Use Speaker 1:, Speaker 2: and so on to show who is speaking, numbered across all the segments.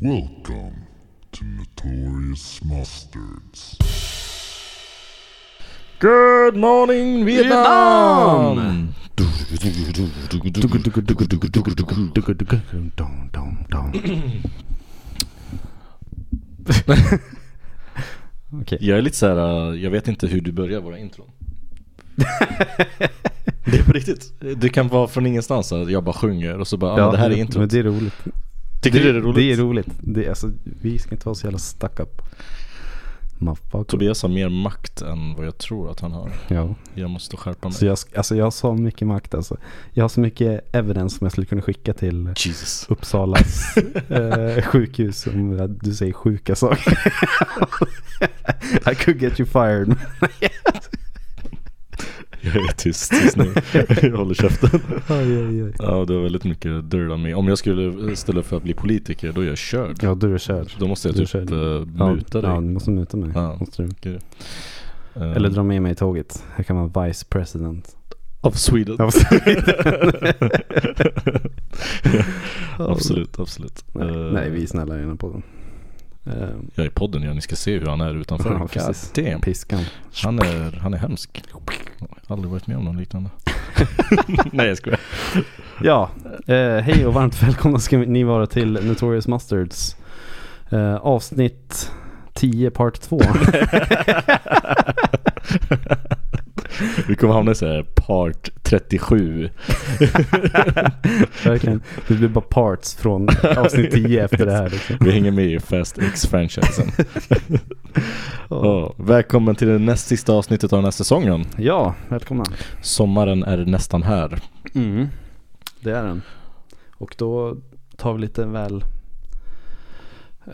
Speaker 1: Welcome to Notorious Mustards.
Speaker 2: Good morning Vietnam! Jag är lite så här, äh, jag vet inte hur du börjar våra intron. det är på riktigt. Det kan vara från ingenstans att jag bara sjunger och så bara, ja, men det här är introt.
Speaker 3: Men det är roligt.
Speaker 2: Tycker du det är roligt?
Speaker 3: Det är roligt. Det är, alltså, vi ska inte vara så jävla stuck up. Motherfucker.
Speaker 2: Tobias har mer makt än vad jag tror att han har.
Speaker 3: Ja.
Speaker 2: Jag måste skärpa mig.
Speaker 3: Så jag, sk- alltså jag har så mycket makt alltså. Jag har så mycket evidence som jag skulle kunna skicka till
Speaker 2: Jesus.
Speaker 3: Uppsalas eh, sjukhus om att du säger sjuka saker. I could get you fired.
Speaker 2: Jag är tyst just nu. jag håller käften.
Speaker 3: Oj, oj, oj.
Speaker 2: Ja, du har väldigt mycket dirt om mig. Om jag skulle ställa för att bli politiker, då är jag körd.
Speaker 3: Ja, du är körd.
Speaker 2: Då måste jag
Speaker 3: Du
Speaker 2: typ
Speaker 3: kör.
Speaker 2: eh,
Speaker 3: Ja,
Speaker 2: muta
Speaker 3: Ja,
Speaker 2: dig.
Speaker 3: du måste muta mig.
Speaker 2: Ja.
Speaker 3: Måste du.
Speaker 2: Eh,
Speaker 3: Eller dra med mig i tåget. Jag kan vara vice president.
Speaker 2: Of Sweden.
Speaker 3: Av
Speaker 2: absolut, absolut.
Speaker 3: Nej,
Speaker 2: Eh,
Speaker 3: nej, vi är snälla i den här podden. Eh,
Speaker 2: Jag är i podden ja, ni ska se hur han är utanför.
Speaker 3: Ja, precis.
Speaker 2: God damn.
Speaker 3: piskan.
Speaker 2: Han är, han är hemsk. Jag har aldrig varit med om något liknande. nej jag skojar.
Speaker 3: Ja, eh, hej och varmt välkomna ska ni vara till Notorious Mustards. Eh, avsnitt 10 part 2.
Speaker 2: Vi kommer hamna i så här part 37.
Speaker 3: Verkligen. Det blir bara parts från avsnitt 10 efter det här. Liksom.
Speaker 2: Vi hänger med i Fast X-franchisen. Ja, välkommen till det näst sista avsnittet av den här säsongen.
Speaker 3: Ja, välkomna.
Speaker 2: Sommaren är nästan här.
Speaker 3: Mm. Det är den. Och då tar vi lite väl,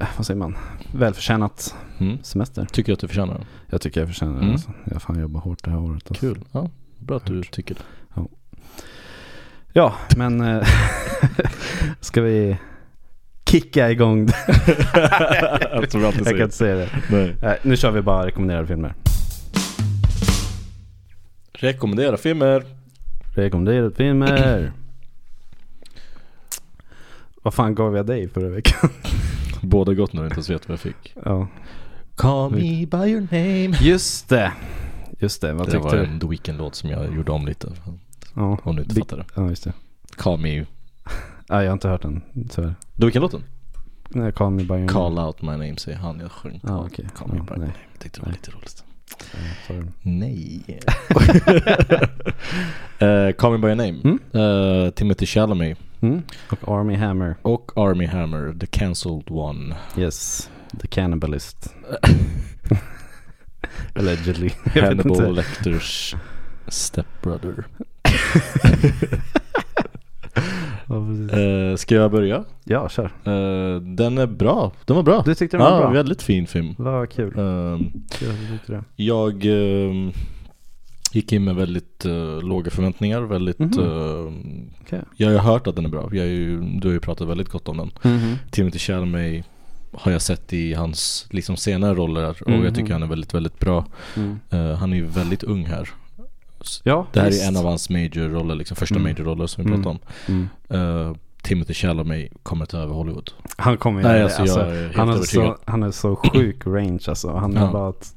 Speaker 3: eh, vad säger man, välförtjänat
Speaker 2: Mm.
Speaker 3: semester.
Speaker 2: Tycker jag att du förtjänar den.
Speaker 3: Jag tycker jag förtjänar det.
Speaker 2: Mm.
Speaker 3: Alltså. Jag har fan jobbar hårt det här året. Alltså.
Speaker 2: Kul. Ja, bra att du tycker det.
Speaker 3: Ja, men eh, ska vi kicka igång? det?
Speaker 2: Allt som jag alltid
Speaker 3: Jag kan
Speaker 2: säger.
Speaker 3: inte säga det.
Speaker 2: Nej.
Speaker 3: Nej, nu kör vi bara rekommenderade filmer.
Speaker 2: Rekommendera filmer.
Speaker 3: Rekommenderade filmer. Vad fan gav jag dig förra veckan?
Speaker 2: Båda gott när jag inte ens vet vad jag fick.
Speaker 3: Ja.
Speaker 2: Call me by your name.
Speaker 3: Just det. Just det, vad
Speaker 2: det
Speaker 3: tyckte
Speaker 2: var
Speaker 3: du?
Speaker 2: en The Weeknd-låt som jag gjorde om lite.
Speaker 3: Ja.
Speaker 2: Om du inte
Speaker 3: Vi-
Speaker 2: fattar det.
Speaker 3: ja, just det.
Speaker 2: Call me.
Speaker 3: Ja, jag har inte hört den tyvärr.
Speaker 2: The Weeknd-låten?
Speaker 3: Mm. Nej, Call Me By Your Name.
Speaker 2: Call out my name säger han. Jag sjöng
Speaker 3: Ja,
Speaker 2: call-
Speaker 3: okej.
Speaker 2: Call me
Speaker 3: Ja,
Speaker 2: by your
Speaker 3: nej.
Speaker 2: name. Jag tyckte det var
Speaker 3: Nej.
Speaker 2: lite roligt.
Speaker 3: Ja, sorry.
Speaker 2: Nej. uh, call me by your name.
Speaker 3: Mm.
Speaker 2: Eh, Timothy Chalamet
Speaker 3: Mm. Och Army Hammer.
Speaker 2: och Army Hammer, the cancelled one.
Speaker 3: Yes. The Cannibalist. Allegedly. Jag vet inte.
Speaker 2: Hannibal Lecters stepbrother.
Speaker 3: Ja, precis.
Speaker 2: Uh, ska jag börja?
Speaker 3: Ja, kör.
Speaker 2: Eh, den är bra. Den var bra.
Speaker 3: Du tyckte den var
Speaker 2: Ja,
Speaker 3: bra?
Speaker 2: väldigt fin film.
Speaker 3: Vad kul.
Speaker 2: Ehm,
Speaker 3: Kul att du tyckte det.
Speaker 2: Jag ehm, gick in med väldigt eh, låga förväntningar, väldigt...
Speaker 3: Mhm.
Speaker 2: ehm,
Speaker 3: Okej.
Speaker 2: jag har ju hört att den är bra, jag är ju, du har ju pratat väldigt gott om den. Timothy Chalamet har jag sett i hans liksom, senare roller och jag
Speaker 3: Mhm.
Speaker 2: tycker han är väldigt, väldigt bra.
Speaker 3: Mm.
Speaker 2: Eh, han är ju väldigt ung här.
Speaker 3: Ja,
Speaker 2: Det här
Speaker 3: visst.
Speaker 2: är en av hans major-roller, liksom första
Speaker 3: Mm.
Speaker 2: major-roller som vi
Speaker 3: Mm.
Speaker 2: pratade om.
Speaker 3: Mm.
Speaker 2: Eh, Timothy Chalamet kommer ta över Hollywood.
Speaker 3: Han kommer göra
Speaker 2: Nej
Speaker 3: det.
Speaker 2: alltså, jag är helt
Speaker 3: han, har
Speaker 2: övertygad.
Speaker 3: så, han är så sjuk range alltså. Han
Speaker 2: Ja.
Speaker 3: är bara ett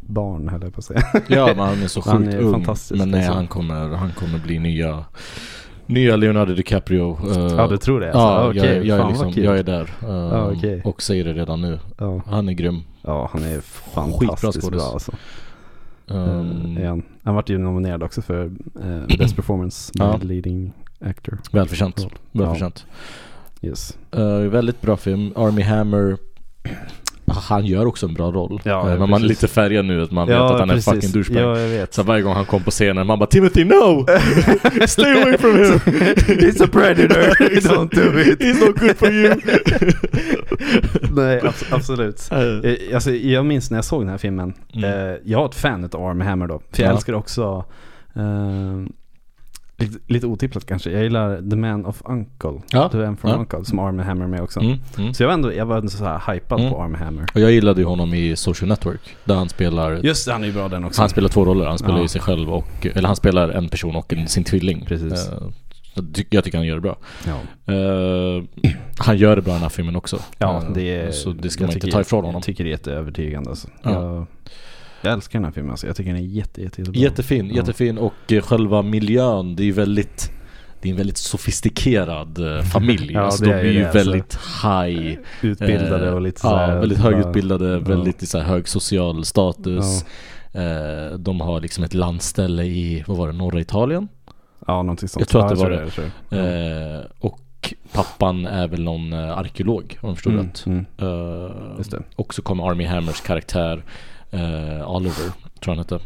Speaker 3: barn höll jag på att säga.
Speaker 2: Ja men han är så
Speaker 3: Han
Speaker 2: sjukt
Speaker 3: är
Speaker 2: ung.
Speaker 3: fantastisk,
Speaker 2: Men nej
Speaker 3: alltså.
Speaker 2: han kommer, han kommer bli nya, nya Leonardo DiCaprio. eh,
Speaker 3: ja du tror det? Alltså.
Speaker 2: ja,
Speaker 3: okej,
Speaker 2: jag, är- jag, är
Speaker 3: fan
Speaker 2: liksom,
Speaker 3: vad kul.
Speaker 2: jag är där. eh,
Speaker 3: Ja, okej.
Speaker 2: Och säger det redan nu.
Speaker 3: ja.
Speaker 2: Han är grym.
Speaker 3: ja, han är fantastiskt
Speaker 2: skådis.
Speaker 3: bra alltså.
Speaker 2: Um,
Speaker 3: Eh, är han. han vart ju nominerad också för eh, Best Performance by
Speaker 2: Ja.
Speaker 3: Leading Actor.
Speaker 2: Välförtjänt.
Speaker 3: Ja.
Speaker 2: Välförtjänt.
Speaker 3: Yes.
Speaker 2: Eh, väldigt bra film. Army Hammer. Ah, Han gör också en bra roll.
Speaker 3: Ja,
Speaker 2: Eh, men
Speaker 3: ja,
Speaker 2: man är
Speaker 3: precis.
Speaker 2: lite färgad nu att man vet att han är en fucking douchebag.
Speaker 3: Ja, jag vet.
Speaker 2: Så varje gång han kom på scenen, man bara Timothy no! Stay away from him!
Speaker 3: He's a predator, don't do it.
Speaker 2: He's not good for you!
Speaker 3: Nej, abs- absolut.
Speaker 2: Typ. Eh,
Speaker 3: Eh, Alltså, jag minns när jag såg den här filmen.
Speaker 2: Mm.
Speaker 3: Eh, jag var ett fan av Arm Hammer då. För jag
Speaker 2: Ja.
Speaker 3: älskar också, eh, lite, lite otippat kanske, jag gillar The Man of Uncle.
Speaker 2: Ja.
Speaker 3: The Man from
Speaker 2: Ja.
Speaker 3: Uncle som Arm Hammer är med också.
Speaker 2: Mm, mm.
Speaker 3: Så jag var ändå, jag var ändå så här hypad
Speaker 2: Mm.
Speaker 3: på Arm Hammer.
Speaker 2: Och jag gillade ju honom i Social Network där han spelar
Speaker 3: Just det, han är ju bra den också.
Speaker 2: Han spelar två roller, han spelar
Speaker 3: Ja.
Speaker 2: ju sig själv och, eller han spelar en person och en, sin tvilling
Speaker 3: Precis.
Speaker 2: Eh, Jag, ty- jag tycker han gör det bra.
Speaker 3: Ja,
Speaker 2: Eh, han gör det bra i den här filmen också.
Speaker 3: ja
Speaker 2: Eh,
Speaker 3: det är,
Speaker 2: så det ska
Speaker 3: jag
Speaker 2: man inte
Speaker 3: tycker-
Speaker 2: ta ifrån honom.
Speaker 3: Jag tycker det är jätteövertygande alltså.
Speaker 2: Ja.
Speaker 3: jag, jag älskar den här filmen alltså. Jag tycker den är jätte, jätte, jättebra.
Speaker 2: Jättefin,
Speaker 3: Ja.
Speaker 2: jättefin och eh, själva miljön, det är ju väldigt det är en väldigt sofistikerad eh, familj.
Speaker 3: Ja,
Speaker 2: alltså,
Speaker 3: det
Speaker 2: de
Speaker 3: är
Speaker 2: är
Speaker 3: ju
Speaker 2: ju
Speaker 3: det, alltså.
Speaker 2: väldigt high.
Speaker 3: Utbildade
Speaker 2: eh,
Speaker 3: och lite så
Speaker 2: Ja,
Speaker 3: här-
Speaker 2: väldigt
Speaker 3: bara-
Speaker 2: högutbildade, väldigt så här, hög social status.
Speaker 3: Ja.
Speaker 2: Eh, de har liksom ett landställe i, vad var det, norra Italien?
Speaker 3: Ja, någonting sånt.
Speaker 2: Jag tror att
Speaker 3: Ja,
Speaker 2: det var
Speaker 3: jag tror jag. Mm.
Speaker 2: Eh, och pappan är väl någon eh, arkeolog om jag förstod
Speaker 3: Mm,
Speaker 2: rätt.
Speaker 3: mm,
Speaker 2: Eh,
Speaker 3: just det.
Speaker 2: och så kommer Army Hammers karaktär eh, Oliver, tror jag han hette.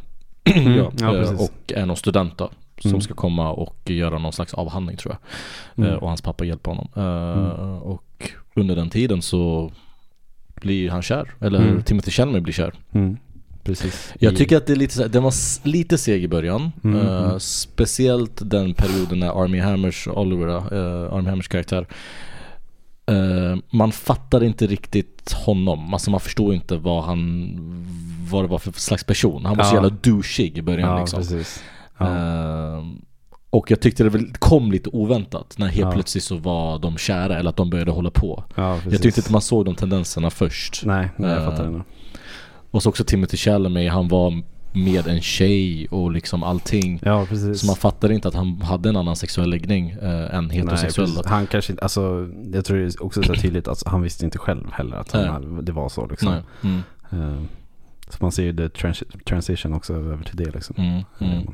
Speaker 3: Mm. ja, precis.
Speaker 2: eh, och är någon student då, som
Speaker 3: Mm.
Speaker 2: ska komma och göra någon slags avhandling tror jag.
Speaker 3: Mm.
Speaker 2: Eh, och hans pappa hjälper honom. Eh, Och under den tiden så blir han kär, eller
Speaker 3: Mm.
Speaker 2: Timothy Chalmers blir kär.
Speaker 3: Mm, precis.
Speaker 2: Jag
Speaker 3: I-
Speaker 2: tycker att det är lite så här, den var s- lite seg i början.
Speaker 3: Mm,
Speaker 2: Eh,
Speaker 3: mm.
Speaker 2: speciellt den perioden när Army Hammers, Oliver, eh, Army Hammers karaktär eh, man fattar inte riktigt honom, alltså man förstår inte vad han Vad det var för slags person, han var så
Speaker 3: Ja.
Speaker 2: jävla douchig i början
Speaker 3: ja,
Speaker 2: liksom
Speaker 3: precis. Ja.
Speaker 2: Eh, Och jag tyckte det väl kom lite oväntat när helt
Speaker 3: Ja.
Speaker 2: plötsligt så var de kära eller att de började hålla på
Speaker 3: ja, precis.
Speaker 2: Jag tyckte inte man såg de tendenserna först
Speaker 3: Nej, nej jag
Speaker 2: Eh,
Speaker 3: fattar det nu.
Speaker 2: och så också Timothy Chalamet, han var med en tjej och liksom allting.
Speaker 3: Ja, precis.
Speaker 2: Så man fattade inte att han hade en annan sexuell läggning eh, än heterosexuell.
Speaker 3: precis. han kanske inte, alltså jag tror det är också så här tydligt att han visste inte själv heller att han
Speaker 2: Nej.
Speaker 3: hade, det var så liksom.
Speaker 2: Nej. Mm,
Speaker 3: Eh, Så man ser ju the trans- transition också över till det liksom.
Speaker 2: mm, mm.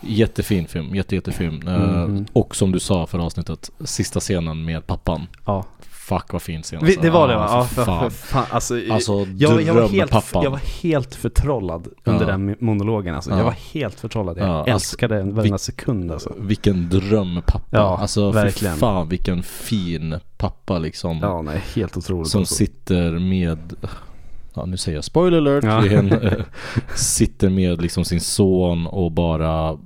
Speaker 2: Jättefin film, jätte, jättefin. Eh,
Speaker 3: Mm, mm.
Speaker 2: Och som du sa förra avsnittet, sista scenen med pappan.
Speaker 3: Ja,
Speaker 2: Fuck vad fin scen.
Speaker 3: Vi- det var det va?
Speaker 2: Ja,
Speaker 3: Ja,
Speaker 2: Alltså, för
Speaker 3: för, för
Speaker 2: fan.
Speaker 3: fan. Alltså, i-
Speaker 2: Alltså
Speaker 3: jag, jag, var
Speaker 2: dröm
Speaker 3: helt,
Speaker 2: pappan.
Speaker 3: jag var helt förtrollad under
Speaker 2: Ja.
Speaker 3: den monologen alltså.
Speaker 2: Ja.
Speaker 3: Jag var helt förtrollad. Jag
Speaker 2: Ja, alltså,
Speaker 3: älskade den varenda sekund alltså.
Speaker 2: Vilken dröm pappa.
Speaker 3: Ja,
Speaker 2: alltså
Speaker 3: verkligen.
Speaker 2: fy fan vilken fin pappa liksom.
Speaker 3: Ja, nej, helt otroligt.
Speaker 2: Som
Speaker 3: alltså.
Speaker 2: sitter med Ja nu säger jag spoiler alert
Speaker 3: Ja.
Speaker 2: igen, eh, Sitter med liksom sin son och bara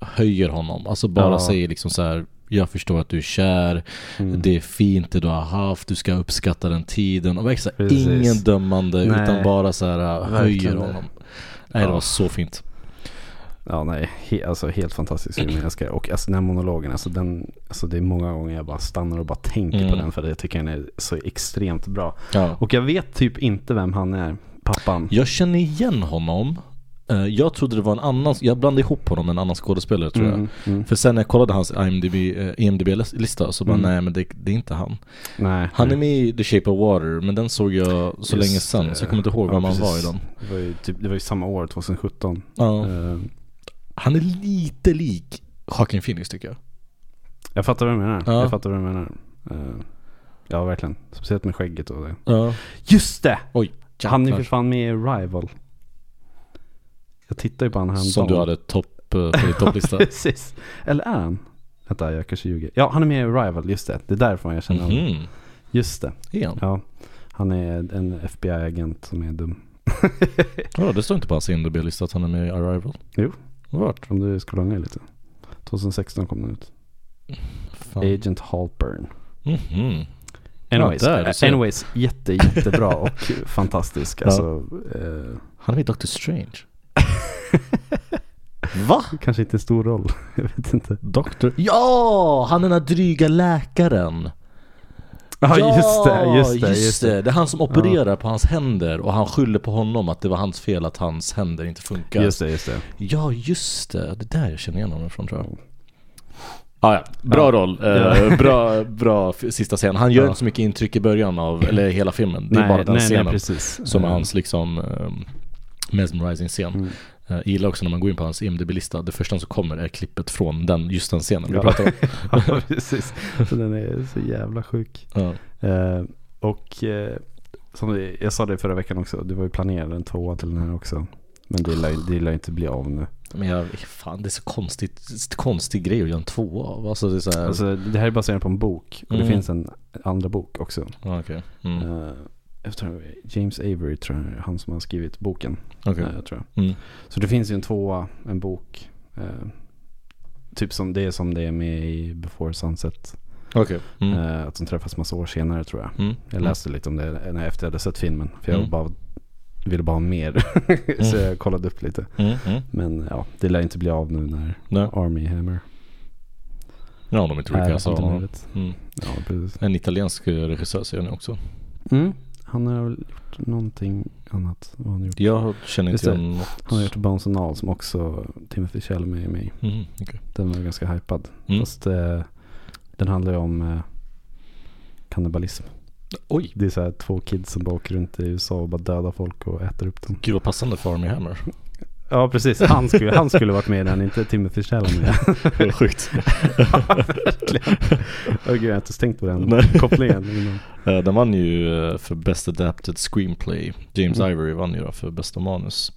Speaker 2: Höjer honom, alltså bara
Speaker 3: Ja.
Speaker 2: säger liksom så här Jag förstår att du är kär
Speaker 3: Mm.
Speaker 2: Det är fint det du har haft, du ska uppskatta den tiden och extra,
Speaker 3: Precis.
Speaker 2: Ingen dömande
Speaker 3: Nej.
Speaker 2: utan bara så här eh, höjer
Speaker 3: Verkligen.
Speaker 2: honom Nej det
Speaker 3: Ja.
Speaker 2: var så fint
Speaker 3: Ja, nej, he, alltså helt fantastisk film. Jag älskar Och alltså den här monologen, alltså den, alltså det är många gånger jag bara stannar och bara tänker på
Speaker 2: Mm.
Speaker 3: den för att jag tycker den är så extremt bra.
Speaker 2: ja.
Speaker 3: Och jag vet typ inte vem han är, pappan.
Speaker 2: Jag känner igen honom Eh, Jag trodde det var en annan, jag blandade ihop honom med en annan skådespelare tror jag
Speaker 3: Mm, mm.
Speaker 2: För sen när jag kollade hans IMDB, eh, IMDB-lista så bara
Speaker 3: Mm.
Speaker 2: nej men det, det är inte han.
Speaker 3: Nej.
Speaker 2: Han är
Speaker 3: nej.
Speaker 2: med i The Shape of Water men den såg jag så
Speaker 3: Just
Speaker 2: länge sen så jag kommer inte ihåg
Speaker 3: Ja,
Speaker 2: vem han
Speaker 3: precis.
Speaker 2: var i den.
Speaker 3: Det var, ju typ, det var ju samma år, 2017.
Speaker 2: Ja.
Speaker 3: Eh,
Speaker 2: Han är lite lik Joaquin Phoenix tycker jag.
Speaker 3: jag fattar vad du menar.
Speaker 2: Ja.
Speaker 3: Jag fattar vad du menar. Eh, ja, verkligen. Speciellt med skägget och det.
Speaker 2: Ja.
Speaker 3: Just det!
Speaker 2: Oj,
Speaker 3: Han är
Speaker 2: jäklar.
Speaker 3: för fan med i Rival. Jag tittar ju på honom
Speaker 2: Som du hade topp eh, på din topplista.
Speaker 3: Precis. Eller är han? Vänta, jag kanske ljuger. Ja, han är med i Rival, just det. Det är därifrån jag känner honom.
Speaker 2: Mhm,
Speaker 3: Just det.
Speaker 2: är han?
Speaker 3: Ja. Han är en FBI-agent som är dum.
Speaker 2: Ja, det står inte på hans IMDB-lista att han är med i Arrival.
Speaker 3: Jo.
Speaker 2: Vart?
Speaker 3: Om du scrollar ner lite. 2016 kom den ut.
Speaker 2: Fan.
Speaker 3: Agent Halpern.
Speaker 2: Mhm.
Speaker 3: Anyways,
Speaker 2: Ja, där, du ser.
Speaker 3: anyways jätte, jättebra och fantastisk.
Speaker 2: Ja.
Speaker 3: Alltså, eh,
Speaker 2: Han är med i Doctor Strange. Va?
Speaker 3: kanske inte en stor roll. jag vet inte.
Speaker 2: Doctor? Ja! Han är den där dryga läkaren.
Speaker 3: Ja, just det. Just det.
Speaker 2: just det. Det är han som opererar på hans händer och han skyller på honom att det var hans fel att hans händer inte funkar.
Speaker 3: Just det, just det.
Speaker 2: Ja, just det. Det är där jag känner igen honom från tror jag. Ah, ja. Bra
Speaker 3: Ja.
Speaker 2: roll. Eh,
Speaker 3: Ja.
Speaker 2: bra, bra f- sista scen. Han gör
Speaker 3: Ja.
Speaker 2: inte så mycket intryck i början av, eller hela filmen. Det är bara den
Speaker 3: nej,
Speaker 2: scenen
Speaker 3: Nej, precis.
Speaker 2: som är
Speaker 3: Eh,
Speaker 2: hans liksom ehm, mesmerizing scen.
Speaker 3: Mm.
Speaker 2: Eh, Jag gillar också när man går in på hans IMDB-lista, det första som kommer är klippet från den, just den scenen vi
Speaker 3: Ja.
Speaker 2: pratar om.
Speaker 3: ja, precis. Så den är så jävla sjuk.
Speaker 2: Ja.
Speaker 3: Eh, och eh, som vi- jag sa det förra veckan också, det var ju planerat en tvåa till den här också. Men det lär, det lär inte bli av nu.
Speaker 2: Men jag, fan det är så konstigt, konstig grej att göra en tvåa av. Alltså det är så här,
Speaker 3: Alltså, det här är baserat på en bok och det
Speaker 2: Mm.
Speaker 3: finns en andra bok också.
Speaker 2: ja, okej. Mm.
Speaker 3: Eh, jag tror, James Avery tror jag, är han som har skrivit boken.
Speaker 2: okej.
Speaker 3: eh, tror jag.
Speaker 2: Mm.
Speaker 3: Så det finns ju en tvåa, en bok. eh, typ som det är som det är med i Before Sunset.
Speaker 2: Okej. Mm.
Speaker 3: Eh, att de träffas massa år senare tror jag.
Speaker 2: Mm.
Speaker 3: Jag läste lite om det när jag efter jag hade sett filmen. För jag
Speaker 2: Mm.
Speaker 3: bara, ville bara ha mer. så jag kollade upp lite.
Speaker 2: Mm. Mm.
Speaker 3: Men ja, det lär inte bli av nu när
Speaker 2: Nej.
Speaker 3: Army Hammer
Speaker 2: Ja, om de inte
Speaker 3: Nej,
Speaker 2: recastar
Speaker 3: inte
Speaker 2: honom.
Speaker 3: möjligt.
Speaker 2: Mm.
Speaker 3: Ja, precis.
Speaker 2: En italiensk regissör ser jag nu också.
Speaker 3: Mm. Han har väl gjort någonting annat. Vad har han, gjort?
Speaker 2: Jag känner
Speaker 3: Just
Speaker 2: inte
Speaker 3: det.
Speaker 2: igen något.
Speaker 3: han har gjort Bones and All som också Timothy Chalamet är med i.
Speaker 2: Mm, okej.
Speaker 3: Den var ju ganska hypad.
Speaker 2: Mm.
Speaker 3: Fast eh, den handlar ju om eh, kannibalism.
Speaker 2: Oj,
Speaker 3: Det är så här två kids som bara åker runt i USA och bara dödar folk och äter upp dem.
Speaker 2: gud vad passande för Armie Hammer.
Speaker 3: Ja precis, han skulle, han skulle varit med i den, inte Timothy Chalamet.
Speaker 2: Det var Sjukt.
Speaker 3: Åh gud, jag har inte ens tänkt på den
Speaker 2: Nej.
Speaker 3: kopplingen innan.
Speaker 2: Eh, Den vann ju eh, för Best Adapted Screenplay. James
Speaker 3: Mm.
Speaker 2: Ivory vann ju då för bästa manus.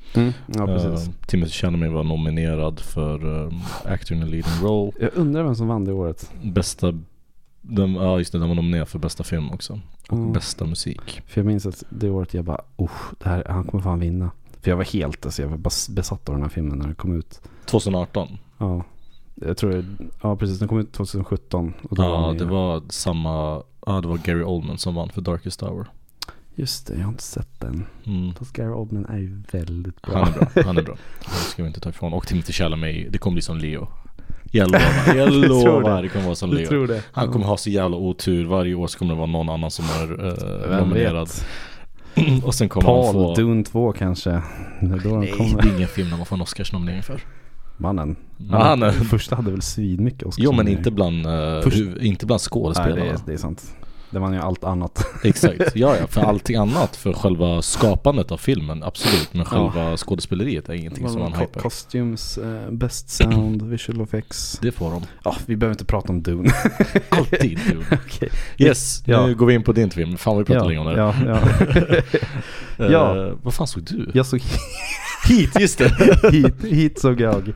Speaker 3: Ja precis.
Speaker 2: Eh, Timothy Chalamet var nominerad för um, Actor in a Leading Role.
Speaker 3: Jag undrar vem som vann det året.
Speaker 2: Bästa, den, ja just det, den var nominerad för bästa film också. Och
Speaker 3: Ja.
Speaker 2: bästa musik.
Speaker 3: Mm. För jag minns att det året jag bara, usch, det här, han kommer fan vinna. För jag var helt, alltså jag var bas- besatt av den här filmen när den kom ut.
Speaker 2: 2018.
Speaker 3: Ja, jag tror, ja precis, den kom ut 2017. Och då
Speaker 2: Ja,
Speaker 3: han med-
Speaker 2: det var samma, ja det var Gary Oldman som vann för Darkest Hour.
Speaker 3: Just det, jag har inte sett den.
Speaker 2: Mm.
Speaker 3: Fast Gary Oldman är ju väldigt bra.
Speaker 2: Han är bra, han är bra. Det ska vi inte ta ifrån. Och Timothy Chalamet, det kommer bli som Leo. Jag lovar, jag
Speaker 3: Du tror
Speaker 2: lovar
Speaker 3: det?
Speaker 2: det kommer vara som
Speaker 3: Du
Speaker 2: Leo.
Speaker 3: tror det?
Speaker 2: Han kommer ha så jävla otur, varje år så kommer det vara någon annan som är
Speaker 3: Vem
Speaker 2: eh,
Speaker 3: vet?
Speaker 2: nominerad. Och sen kommer han
Speaker 3: Paul,
Speaker 2: få...
Speaker 3: Dune 2 kanske. Det är då han
Speaker 2: Nej,
Speaker 3: kommer.
Speaker 2: det är ingen film när man får en Oscarsnominering för.
Speaker 3: Mannen.
Speaker 2: Mannen.
Speaker 3: Första hade väl svinmycket Oscars.
Speaker 2: Jo men inte bland, eh,
Speaker 3: Mm. Först-
Speaker 2: huv- inte bland
Speaker 3: Nej,
Speaker 2: skådespelarna.
Speaker 3: det är, det är sant. Det vann ju allt annat.
Speaker 2: Exakt, ja, ja för allting annat, för själva skapandet av filmen, absolut. Men själva skådespeleriet är ingenting som man
Speaker 3: Ko-
Speaker 2: hypar.
Speaker 3: Costumes, eh, best sound, visual effects.
Speaker 2: Det får de.
Speaker 3: Ja, vi behöver inte prata om Dune.
Speaker 2: Alltid. dude.
Speaker 3: Okej.
Speaker 2: Yes,
Speaker 3: Ja.
Speaker 2: nu går vi in på din film. Fan vad vi pratar länge om det här.
Speaker 3: ja, ja.
Speaker 2: Eh,
Speaker 3: Ja.
Speaker 2: vad fan såg du?
Speaker 3: Jag såg
Speaker 2: Hit, just det.
Speaker 3: hit, hit såg jag.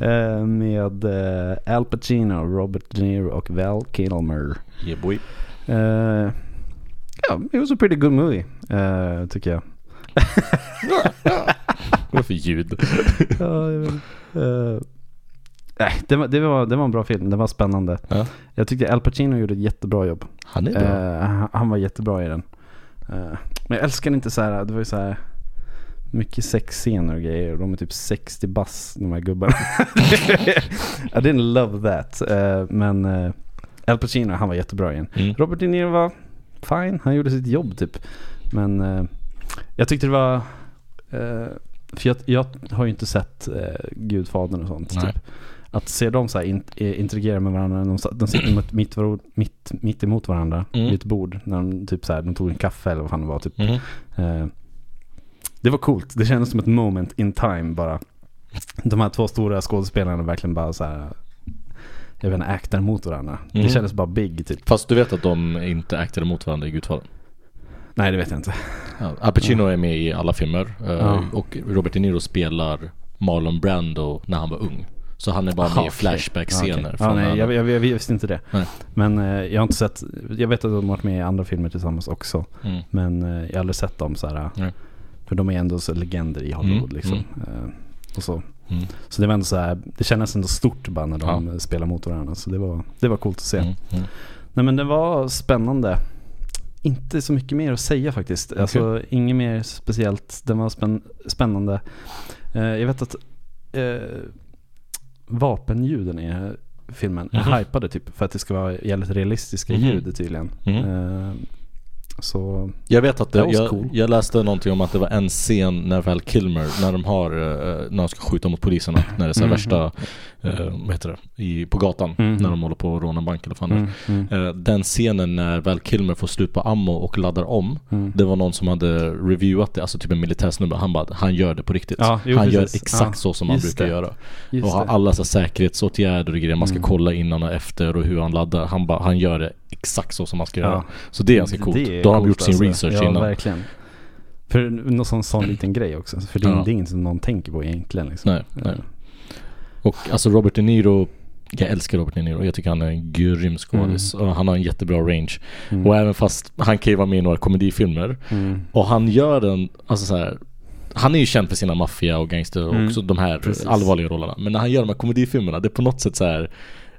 Speaker 3: Eh, med eh, Al Pacino, Robert De Niro och Val Kilmer.
Speaker 2: Yeah boy.
Speaker 3: Eh, Ja, it was a pretty good movie, eh, tycker jag.
Speaker 2: Vad är det för ljud?
Speaker 3: Ja, jag vet inte. Eh, Nej, det var, det, var, det var en bra film. Det var spännande.
Speaker 2: Ja.
Speaker 3: Jag tyckte Al Pacino gjorde ett jättebra jobb.
Speaker 2: Han är bra.
Speaker 3: Eh, han- han var jättebra i den. Eh, men jag älskar inte så här, det var ju så här mycket sexscener och grejer och de är typ 60 bass de här gubbarna. I didn't love that. Eh, men eh, Al Pacino, han var jättebra i den.
Speaker 2: Mm.
Speaker 3: Robert De Niro var fine, han gjorde sitt jobb typ. Men eh, jag tyckte det var... Eh, för jag, jag har ju inte sett eh, Gudfadern och sånt.
Speaker 2: Nej.
Speaker 3: Typ. Att se dem så här in, eh, interagera med varandra, de, sa- de sitter mitt, mitt, varo- mitt, mitt emot varandra
Speaker 2: Mm.
Speaker 3: vid ett bord. När de, typ så här, de tog en kaffe eller vad fan det var. Typ.
Speaker 2: Mhm.
Speaker 3: Eh, det var coolt, det kändes som ett moment in time bara. De här två stora skådespelarna verkligen bara så här... Jag vet inte, actar mot varandra.
Speaker 2: Mm.
Speaker 3: Det kändes bara big typ.
Speaker 2: Fast du vet att de inte actade mot varandra i Gudfadern?
Speaker 3: Nej det vet jag inte.
Speaker 2: Ja. Al Pacino är med i alla filmer eh,
Speaker 3: Ja.
Speaker 2: och Robert De Niro spelar Marlon Brando när han var ung. Så han är bara
Speaker 3: Aha,
Speaker 2: med i
Speaker 3: okej.
Speaker 2: flashback-scener.
Speaker 3: Ja, okej.
Speaker 2: från
Speaker 3: Ja, nej,
Speaker 2: när-
Speaker 3: jag, jag, jag visste inte det.
Speaker 2: Nej.
Speaker 3: Men eh, jag har inte sett, jag vet att de har varit med i andra filmer tillsammans också.
Speaker 2: Mm.
Speaker 3: Men eh, jag har aldrig sett dem så här. eh,
Speaker 2: Nej.
Speaker 3: För de är ändå så legender i Hollywood
Speaker 2: Mm,
Speaker 3: liksom. Eh, och så.
Speaker 2: Mm.
Speaker 3: så det var ändå så här, det kändes ändå stort bara när de spelar mot varandra. Så det var, det var coolt att se.
Speaker 2: Mm. Mm.
Speaker 3: Nej men det var spännande. Inte så mycket mer att säga faktiskt. Alltså inget mer speciellt. Den var spänn- spännande. Eh, jag vet att eh, vapenljuden i den här filmen är
Speaker 2: Mhm.
Speaker 3: hypade typ. För att det ska vara jävligt realistiska
Speaker 2: Mhm.
Speaker 3: ljud tydligen.
Speaker 2: Mm.
Speaker 3: Eh, så
Speaker 2: Jag vet att det,
Speaker 3: That was
Speaker 2: jag,
Speaker 3: cool.
Speaker 2: jag läste någonting om att det var en scen när väl Kilmer, när de har, eh, när de ska skjuta mot poliserna, när det är så här
Speaker 3: Mhm.
Speaker 2: värsta, eh, vad heter det, i, på gatan,
Speaker 3: Mhm.
Speaker 2: när de håller på att råna en bank eller vad fan
Speaker 3: mm,
Speaker 2: det
Speaker 3: mm,
Speaker 2: är. Eh, Den scenen när väl Kilmer får slut på ammo och laddar om,
Speaker 3: mm.
Speaker 2: det var någon som hade reviewat det, alltså typ en militärsnubbe, han bara, han gör det på riktigt.
Speaker 3: Ja, jo,
Speaker 2: han gör
Speaker 3: precis.
Speaker 2: exakt
Speaker 3: Ja,
Speaker 2: så som han
Speaker 3: just
Speaker 2: brukar
Speaker 3: det.
Speaker 2: göra.
Speaker 3: Just
Speaker 2: och har
Speaker 3: det.
Speaker 2: alla så här säkerhetsåtgärder och grejer man ska
Speaker 3: Mm.
Speaker 2: kolla innan och efter och hur han laddar. Han bara, han gör det exakt så som man ska göra.
Speaker 3: Ja.
Speaker 2: Så det är ganska coolt.
Speaker 3: Det är
Speaker 2: Då har de
Speaker 3: coolt
Speaker 2: gjort sin
Speaker 3: alltså.
Speaker 2: research
Speaker 3: ja,
Speaker 2: innan. Mm.
Speaker 3: verkligen. För någon sån, sån liten grej också. För det är,
Speaker 2: Ja.
Speaker 3: det är inget som någon tänker på egentligen. Liksom.
Speaker 2: Nej, nej. Och alltså Robert De Niro, jag älskar Robert De Niro. Jag tycker han är en grym skådis. Och Han har en jättebra range.
Speaker 3: Mm.
Speaker 2: Och även fast han kan ju vara med i några komedifilmer.
Speaker 3: Mm.
Speaker 2: Och han gör den, alltså så här. Han är ju känd för sina maffia och gangster och
Speaker 3: Mm,
Speaker 2: också de här
Speaker 3: precis.
Speaker 2: allvarliga rollerna. Men när han gör de här komedifilmerna, det är på något sätt så här.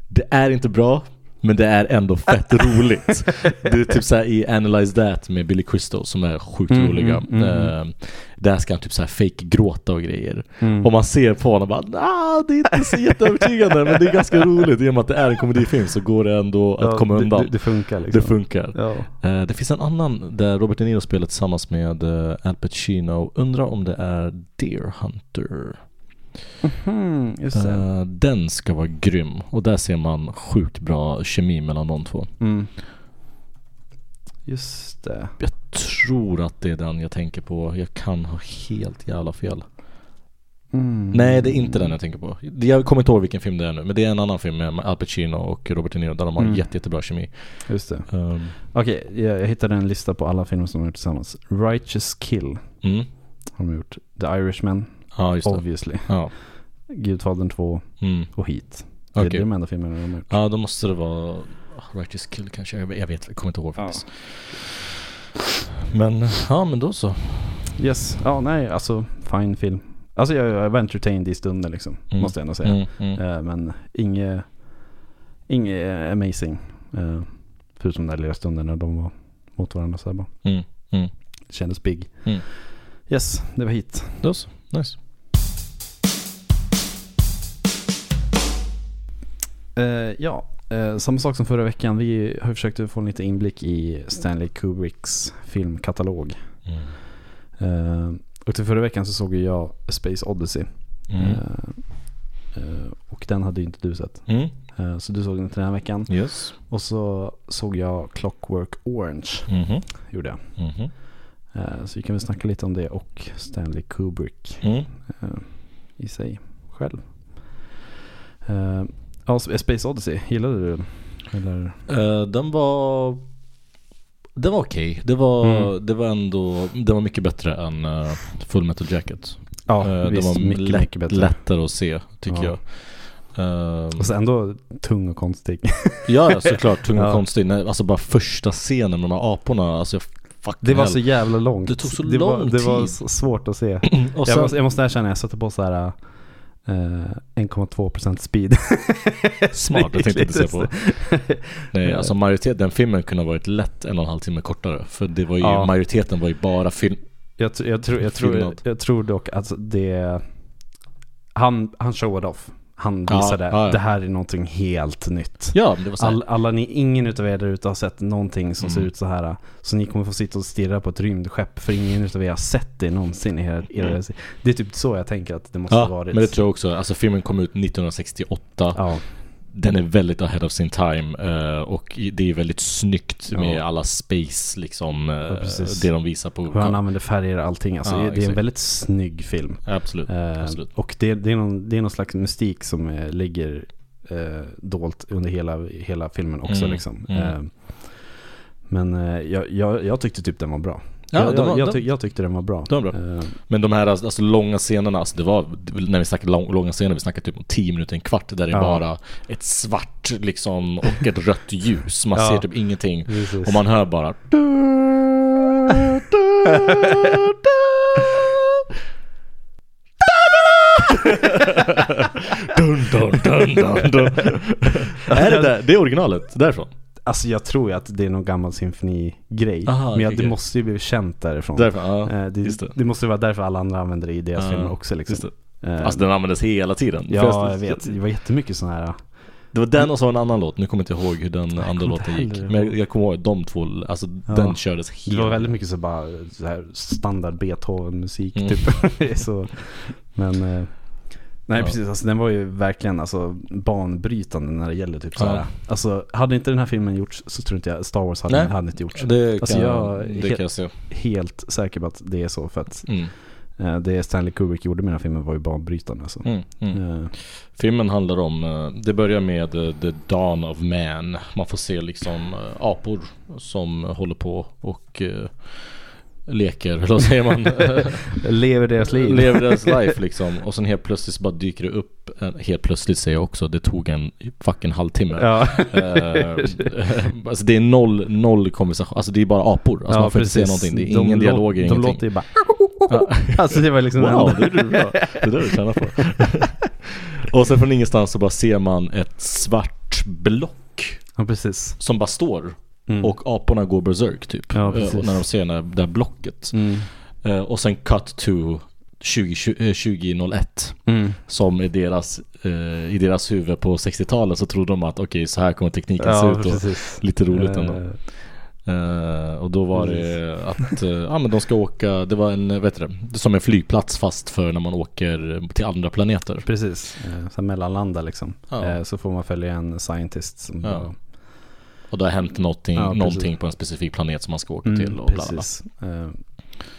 Speaker 2: Det är inte bra, Men det är ändå fett roligt. Det är typ såhär i Analyze That med Billy Crystal som är sjukt
Speaker 3: Mm,
Speaker 2: roliga.
Speaker 3: mm, mm,
Speaker 2: Eh, där ska han typ såhär fake gråta och grejer.
Speaker 3: Mm.
Speaker 2: Och man ser på honom bara nah, det är inte så jätteövertygande men det är ganska roligt. I och med att det är en komedifilm så går det ändå att
Speaker 3: Ja,
Speaker 2: komma
Speaker 3: det-
Speaker 2: undan.
Speaker 3: Det, det funkar liksom.
Speaker 2: det funkar.
Speaker 3: Ja.
Speaker 2: Eh, Det finns en annan där Robert De Niro spelar tillsammans med eh, Al Pacino. Undrar om det är Deer Hunter.
Speaker 3: Mhm, just det.
Speaker 2: Eh, Den ska vara grym. Och där ser man sjukt bra kemi mellan de två.
Speaker 3: Mm. Just det.
Speaker 2: Jag tror att det är den jag tänker på. Jag kan ha helt jävla fel.
Speaker 3: Mm.
Speaker 2: Nej, det är inte den jag tänker på. Jag kommer inte ihåg vilken film det är nu. Men det är en annan film med Al Pacino och Robert De Niro där de har
Speaker 3: Mm.
Speaker 2: jätte, jättebra kemi.
Speaker 3: Just det.
Speaker 2: Ehm,
Speaker 3: Okej, jag, jag hittade en lista på alla filmer som de har gjort tillsammans. Righteous Kill
Speaker 2: Mm.
Speaker 3: har de gjort. The Irishman,
Speaker 2: Ja, just det.
Speaker 3: obviously.
Speaker 2: Ja.
Speaker 3: Gudfadern 2
Speaker 2: Mm.
Speaker 3: och Heat. Det
Speaker 2: Okej.
Speaker 3: är de enda filmerna de har gjort.
Speaker 2: Ja, då måste det vara Righteous Kill kanske. Jag vet- jag vet, jag kommer inte ihåg
Speaker 3: Ja.
Speaker 2: faktiskt. Men, ja men då så.
Speaker 3: Yes, ja nej alltså fine film. Alltså jag, jag var entertained i stunden liksom,
Speaker 2: Mm.
Speaker 3: måste jag ändå säga.
Speaker 2: Mm, mm.
Speaker 3: Eh, men inget, inget amazing. Eh, förutom den där lilla stunden när de var mot varandra så här bara.
Speaker 2: Mm, mm.
Speaker 3: Det kändes big.
Speaker 2: Mm.
Speaker 3: Yes, det var hit.
Speaker 2: Då så, nice.
Speaker 3: Eh, ja, eh, samma sak som förra veckan. Vi har försökt få en liten inblick i Stanley Kubricks filmkatalog.
Speaker 2: Mm.
Speaker 3: Eh, och till förra veckan så såg ju jag Space Odyssey.
Speaker 2: Mm.
Speaker 3: Eh, eh, och den hade ju inte du sett.
Speaker 2: Mm.
Speaker 3: Eh, så du såg den till den här veckan.
Speaker 2: Yes.
Speaker 3: Och så såg jag Clockwork Orange.
Speaker 2: Mhm.
Speaker 3: Gjorde jag.
Speaker 2: Mhm.
Speaker 3: Eh, så vi kan väl snacka lite om det och Stanley Kubrick
Speaker 2: Mm.
Speaker 3: eh, i sig själv. Eh, ja, Space Odyssey, gillade du den? Eller?
Speaker 2: Eh, den var... Den var okej. Det, var,
Speaker 3: Mm.
Speaker 2: det var ändå... Den var mycket bättre än eh, Full Metal Jacket.
Speaker 3: Ja,
Speaker 2: Eh,
Speaker 3: visst.
Speaker 2: den var
Speaker 3: mycket,
Speaker 2: lätt-
Speaker 3: mycket bättre.
Speaker 2: lättare att se, tycker
Speaker 3: Ja.
Speaker 2: jag. Ehm,
Speaker 3: Och så ändå tung och konstig.
Speaker 2: ja, ja, såklart. Tung och
Speaker 3: Ja.
Speaker 2: konstig. Nej, Alltså bara första scenen med de här aporna. Alltså jag fuck
Speaker 3: Det var
Speaker 2: hell.
Speaker 3: så jävla långt.
Speaker 2: Det tog så
Speaker 3: det var,
Speaker 2: lång
Speaker 3: Det var
Speaker 2: tid.
Speaker 3: så svårt att se.
Speaker 2: Mm, Och
Speaker 3: jag,
Speaker 2: sen,
Speaker 3: måste, jag måste erkänna, jag satte på så här eh, 1,2% speed.
Speaker 2: smart, det tänkte jag inte se på. Nej,
Speaker 3: Ja.
Speaker 2: alltså majoritet, den filmen kunde ha varit lätt en och en halv timme kortare. För det var ju,
Speaker 3: Ja.
Speaker 2: majoriteten var ju bara film.
Speaker 3: Jag, tr- jag, tror, jag, tror,
Speaker 2: Filmat.
Speaker 3: jag tror dock att det... Han, han showade off. Han
Speaker 2: Ja,
Speaker 3: visade,
Speaker 2: ja, ja.
Speaker 3: det här är någonting helt nytt.
Speaker 2: Ja, men det var så här,
Speaker 3: All, alla ni, ingen utav er där ute har sett någonting som
Speaker 2: Mm.
Speaker 3: ser ut så här. Så ni kommer få sitta och stirra på ett rymdskepp för ingen utav er har sett det någonsin i hela era
Speaker 2: Mm.
Speaker 3: Det är typ så jag tänker att det måste ha
Speaker 2: Ja,
Speaker 3: varit.
Speaker 2: men det tror jag också. Alltså filmen kom ut 1968.
Speaker 3: ja.
Speaker 2: Den är väldigt ahead of sin time eh, och i- det är väldigt snyggt med
Speaker 3: Ja.
Speaker 2: alla space liksom, eh,
Speaker 3: Ja, precis.
Speaker 2: det de visar på.
Speaker 3: Hur han använder färger och allting. Alltså,
Speaker 2: Ja,
Speaker 3: det, det är en
Speaker 2: exakt.
Speaker 3: väldigt snygg film.
Speaker 2: Absolut.
Speaker 3: Eh,
Speaker 2: Absolut.
Speaker 3: och det, det, är någon, det är någon slags mystik som eh, ligger eh, dolt under hela, hela filmen också.
Speaker 2: Mm,
Speaker 3: Liksom.
Speaker 2: mm.
Speaker 3: Eh, men eh, jag, jag, jag tyckte typ den var bra.
Speaker 2: Ja,
Speaker 3: jag,
Speaker 2: de var-
Speaker 3: jag, jag,
Speaker 2: de-
Speaker 3: tyck- jag tyckte den var bra. Eh,
Speaker 2: de var
Speaker 3: bra.
Speaker 2: Men de här alltså, långa scenerna, alltså det var, när vi snackade lång, långa scener, vi snackade typ om 10 minuter, en kvart, där det är
Speaker 3: Ja.
Speaker 2: bara ett svart liksom och ett rött ljus. Man
Speaker 3: Ja.
Speaker 2: ser typ ingenting.
Speaker 3: Precis.
Speaker 2: Och man hör bara dun, dun, dun, dun, dun. Är det där? Det är originalet, därifrån?
Speaker 3: Alltså jag tror ju att det är någon gammal symfonigrej.
Speaker 2: Aha,
Speaker 3: men jag,
Speaker 2: okej,
Speaker 3: det
Speaker 2: okej.
Speaker 3: måste ju bli känt därifrån.
Speaker 2: Därifrån, ja.
Speaker 3: Eh, det,
Speaker 2: just det.
Speaker 3: det. måste ju vara därför alla andra använder det i deras
Speaker 2: Ja,
Speaker 3: filmer också. Liksom.
Speaker 2: Just det.
Speaker 3: Eh,
Speaker 2: Alltså den användes hela tiden.
Speaker 3: ja,
Speaker 2: Förresten,
Speaker 3: jag vet. Det var jättemycket sådana här.
Speaker 2: Det var den och så en annan låt, nu kommer jag inte ihåg hur den andra
Speaker 3: kommer inte
Speaker 2: låten gick.
Speaker 3: heller
Speaker 2: Men jag, jag kommer ihåg att de två, alltså
Speaker 3: Ja.
Speaker 2: den kördes
Speaker 3: Det
Speaker 2: hela
Speaker 3: var väldigt mycket så bara så här standard Beethoven-musik
Speaker 2: Mm.
Speaker 3: typ. så, men eh, Nej
Speaker 2: Ja.
Speaker 3: precis, alltså, den var ju verkligen alltså, banbrytande när det gäller typ så här.
Speaker 2: Ja.
Speaker 3: Alltså hade inte den här filmen gjorts så tror inte jag Star Wars hade,
Speaker 2: Nej.
Speaker 3: hade inte gjorts.
Speaker 2: Det,
Speaker 3: Alltså,
Speaker 2: kan,
Speaker 3: jag-
Speaker 2: det kan jag se.
Speaker 3: Helt säker på att det är så för att
Speaker 2: Mm,
Speaker 3: Eh, Det Stanley Kubrick gjorde med den här filmen var ju banbrytande alltså.
Speaker 2: mm, mm.
Speaker 3: Eh,
Speaker 2: Filmen handlar om, eh, det börjar med eh, The Dawn of Man. Man får se liksom eh, apor som håller på och eh, leker, eller vad säger man?
Speaker 3: Lever deras liv.
Speaker 2: Lever deras life liksom. Och sen helt plötsligt så bara dyker det upp, en- helt plötsligt säger jag också, det tog en fucking halvtimme.
Speaker 3: ja.
Speaker 2: Eh, alltså det är noll, noll konversation, alltså det är bara apor. Alltså man får inte se någonting, det är ingen
Speaker 3: lå-
Speaker 2: dialog, ingenting.
Speaker 3: De låter ju bara
Speaker 2: Ja.
Speaker 3: Alltså det var liksom
Speaker 2: Wow,
Speaker 3: en-
Speaker 2: det är du bra. Det är det du tjänar på. Och sen från ingenstans så bara ser man ett svart block
Speaker 3: Ja, precis.
Speaker 2: Som bara står
Speaker 3: Mm.
Speaker 2: och aporna går berserk typ.
Speaker 3: Ja,
Speaker 2: Eh,
Speaker 3: precis.
Speaker 2: och när de ser det där blocket.
Speaker 3: Mm.
Speaker 2: Eh, och sen cut to 20, eh, 2001.
Speaker 3: Mm.
Speaker 2: Som i deras, eh, i deras huvud på 60-talet så trodde de att okej så här kommer tekniken se
Speaker 3: Ja,
Speaker 2: ut. Och,
Speaker 3: precis.
Speaker 2: lite roligt ändå.
Speaker 3: Eh,
Speaker 2: Eh, och då var det att eh, ja, men de ska åka, det var en, eh, vad heter det, som en flygplats fast för när man åker till andra planeter.
Speaker 3: Precis. Eh, Så här mellanlanda liksom.
Speaker 2: Ja.
Speaker 3: Eh, Så får man följa en scientist som
Speaker 2: Ja.
Speaker 3: bara-
Speaker 2: Och det har hänt någonting,
Speaker 3: Ja, precis. Mm,
Speaker 2: någonting på en specifik planet som man ska åka till och bla bla bla.
Speaker 3: precis. Eh,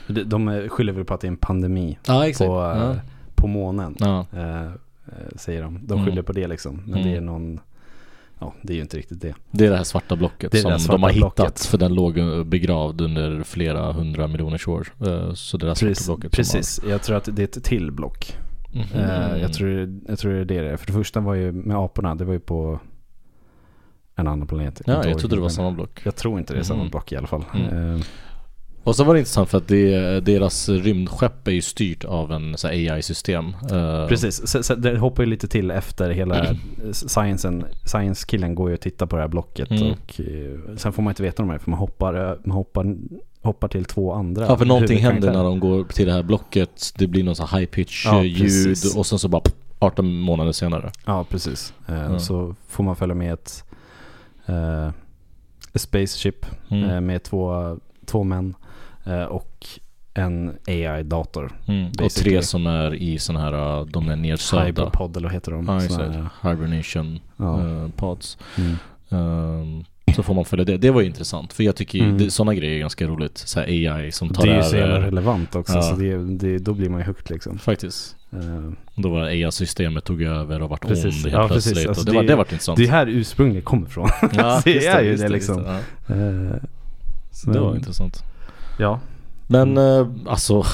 Speaker 3: de- De eh, skyller väl på att det är en pandemi
Speaker 2: Ja exakt.
Speaker 3: på, eh,
Speaker 2: ja.
Speaker 3: på månen.
Speaker 2: Ja.
Speaker 3: eh, eh, Säger de. De
Speaker 2: Mm.
Speaker 3: skyller på det liksom. Men
Speaker 2: Mm.
Speaker 3: det är någon, ja det är ju inte riktigt det.
Speaker 2: Det är det här svarta blocket
Speaker 3: Det är det
Speaker 2: som
Speaker 3: här svarta
Speaker 2: de har hittat
Speaker 3: blocket.
Speaker 2: för den låg eh, begravd under flera hundra miljoner år. Eh, Så det där svarta
Speaker 3: Precis,
Speaker 2: blocket
Speaker 3: precis. jag tror att det är ett till block.
Speaker 2: Som har,
Speaker 3: Eh,
Speaker 2: Mhm.
Speaker 3: jag, tror, jag tror det är det det är. För det första var ju med aporna, det var ju på en annan planet. kommer
Speaker 2: Ja,
Speaker 3: inte
Speaker 2: jag
Speaker 3: ihåg
Speaker 2: trodde det var
Speaker 3: vilken.
Speaker 2: samma block.
Speaker 3: Jag tror inte det är samma
Speaker 2: Mhm.
Speaker 3: block i alla fall.
Speaker 2: Mm.
Speaker 3: Eh,
Speaker 2: Och så var det intressant för att det, deras rymdskepp är ju styrt av en så här AI-system. Eh,
Speaker 3: Precis, så, så det hoppar ju lite till efter hela
Speaker 2: Mm.
Speaker 3: sciencen. Science-killen går ju och tittar på det här blocket
Speaker 2: Mm.
Speaker 3: och eh, sen får man inte veta om det här, för man hoppar, ö- man hoppar, hoppar till två andra.
Speaker 2: Ja för någonting händer
Speaker 3: huvudkaraktärer.
Speaker 2: när de går till det här blocket. Det blir någon sån här high pitch
Speaker 3: Ja,
Speaker 2: eh, ljud
Speaker 3: precis.
Speaker 2: och sen så bara pff, 18 månader senare.
Speaker 3: Ja, precis. Eh,
Speaker 2: Ja.
Speaker 3: Så får man följa med ett eh, ett spaceship
Speaker 2: Mm.
Speaker 3: eh, med två, två män eh, och en AI-dator.
Speaker 2: Mm. Och
Speaker 3: basically.
Speaker 2: tre som är i sån här, eh, de är nedsövda.
Speaker 3: Hyperpod eller vad heter de?
Speaker 2: Ja,
Speaker 3: Såna
Speaker 2: exakt.
Speaker 3: här-
Speaker 2: Hibernation
Speaker 3: Ja.
Speaker 2: eh, pods.
Speaker 3: Mm.
Speaker 2: Ehm, så får man följa det. Det var ju intressant för jag tycker
Speaker 3: Mm.
Speaker 2: ju sådana grejer är ganska roligt. Så här AI som tar
Speaker 3: Det är ju så jävla
Speaker 2: över.
Speaker 3: relevant också,
Speaker 2: Ja.
Speaker 3: så det, det, då blir man ju hooked liksom.
Speaker 2: Faktiskt.
Speaker 3: Eh,
Speaker 2: Då var det AI-systemet tog över och vart
Speaker 3: Precis.
Speaker 2: ond helt
Speaker 3: Ja, precis.
Speaker 2: plötsligt.
Speaker 3: Alltså,
Speaker 2: och det,
Speaker 3: det-
Speaker 2: var, det vart intressant.
Speaker 3: Det är här ursprungligen kommer ifrån.
Speaker 2: ja,
Speaker 3: det
Speaker 2: just
Speaker 3: är ju
Speaker 2: just
Speaker 3: det,
Speaker 2: just
Speaker 3: liksom.
Speaker 2: Ja.
Speaker 3: Eh,
Speaker 2: Så det var
Speaker 3: Men-
Speaker 2: intressant.
Speaker 3: ja.
Speaker 2: Men eh, alltså,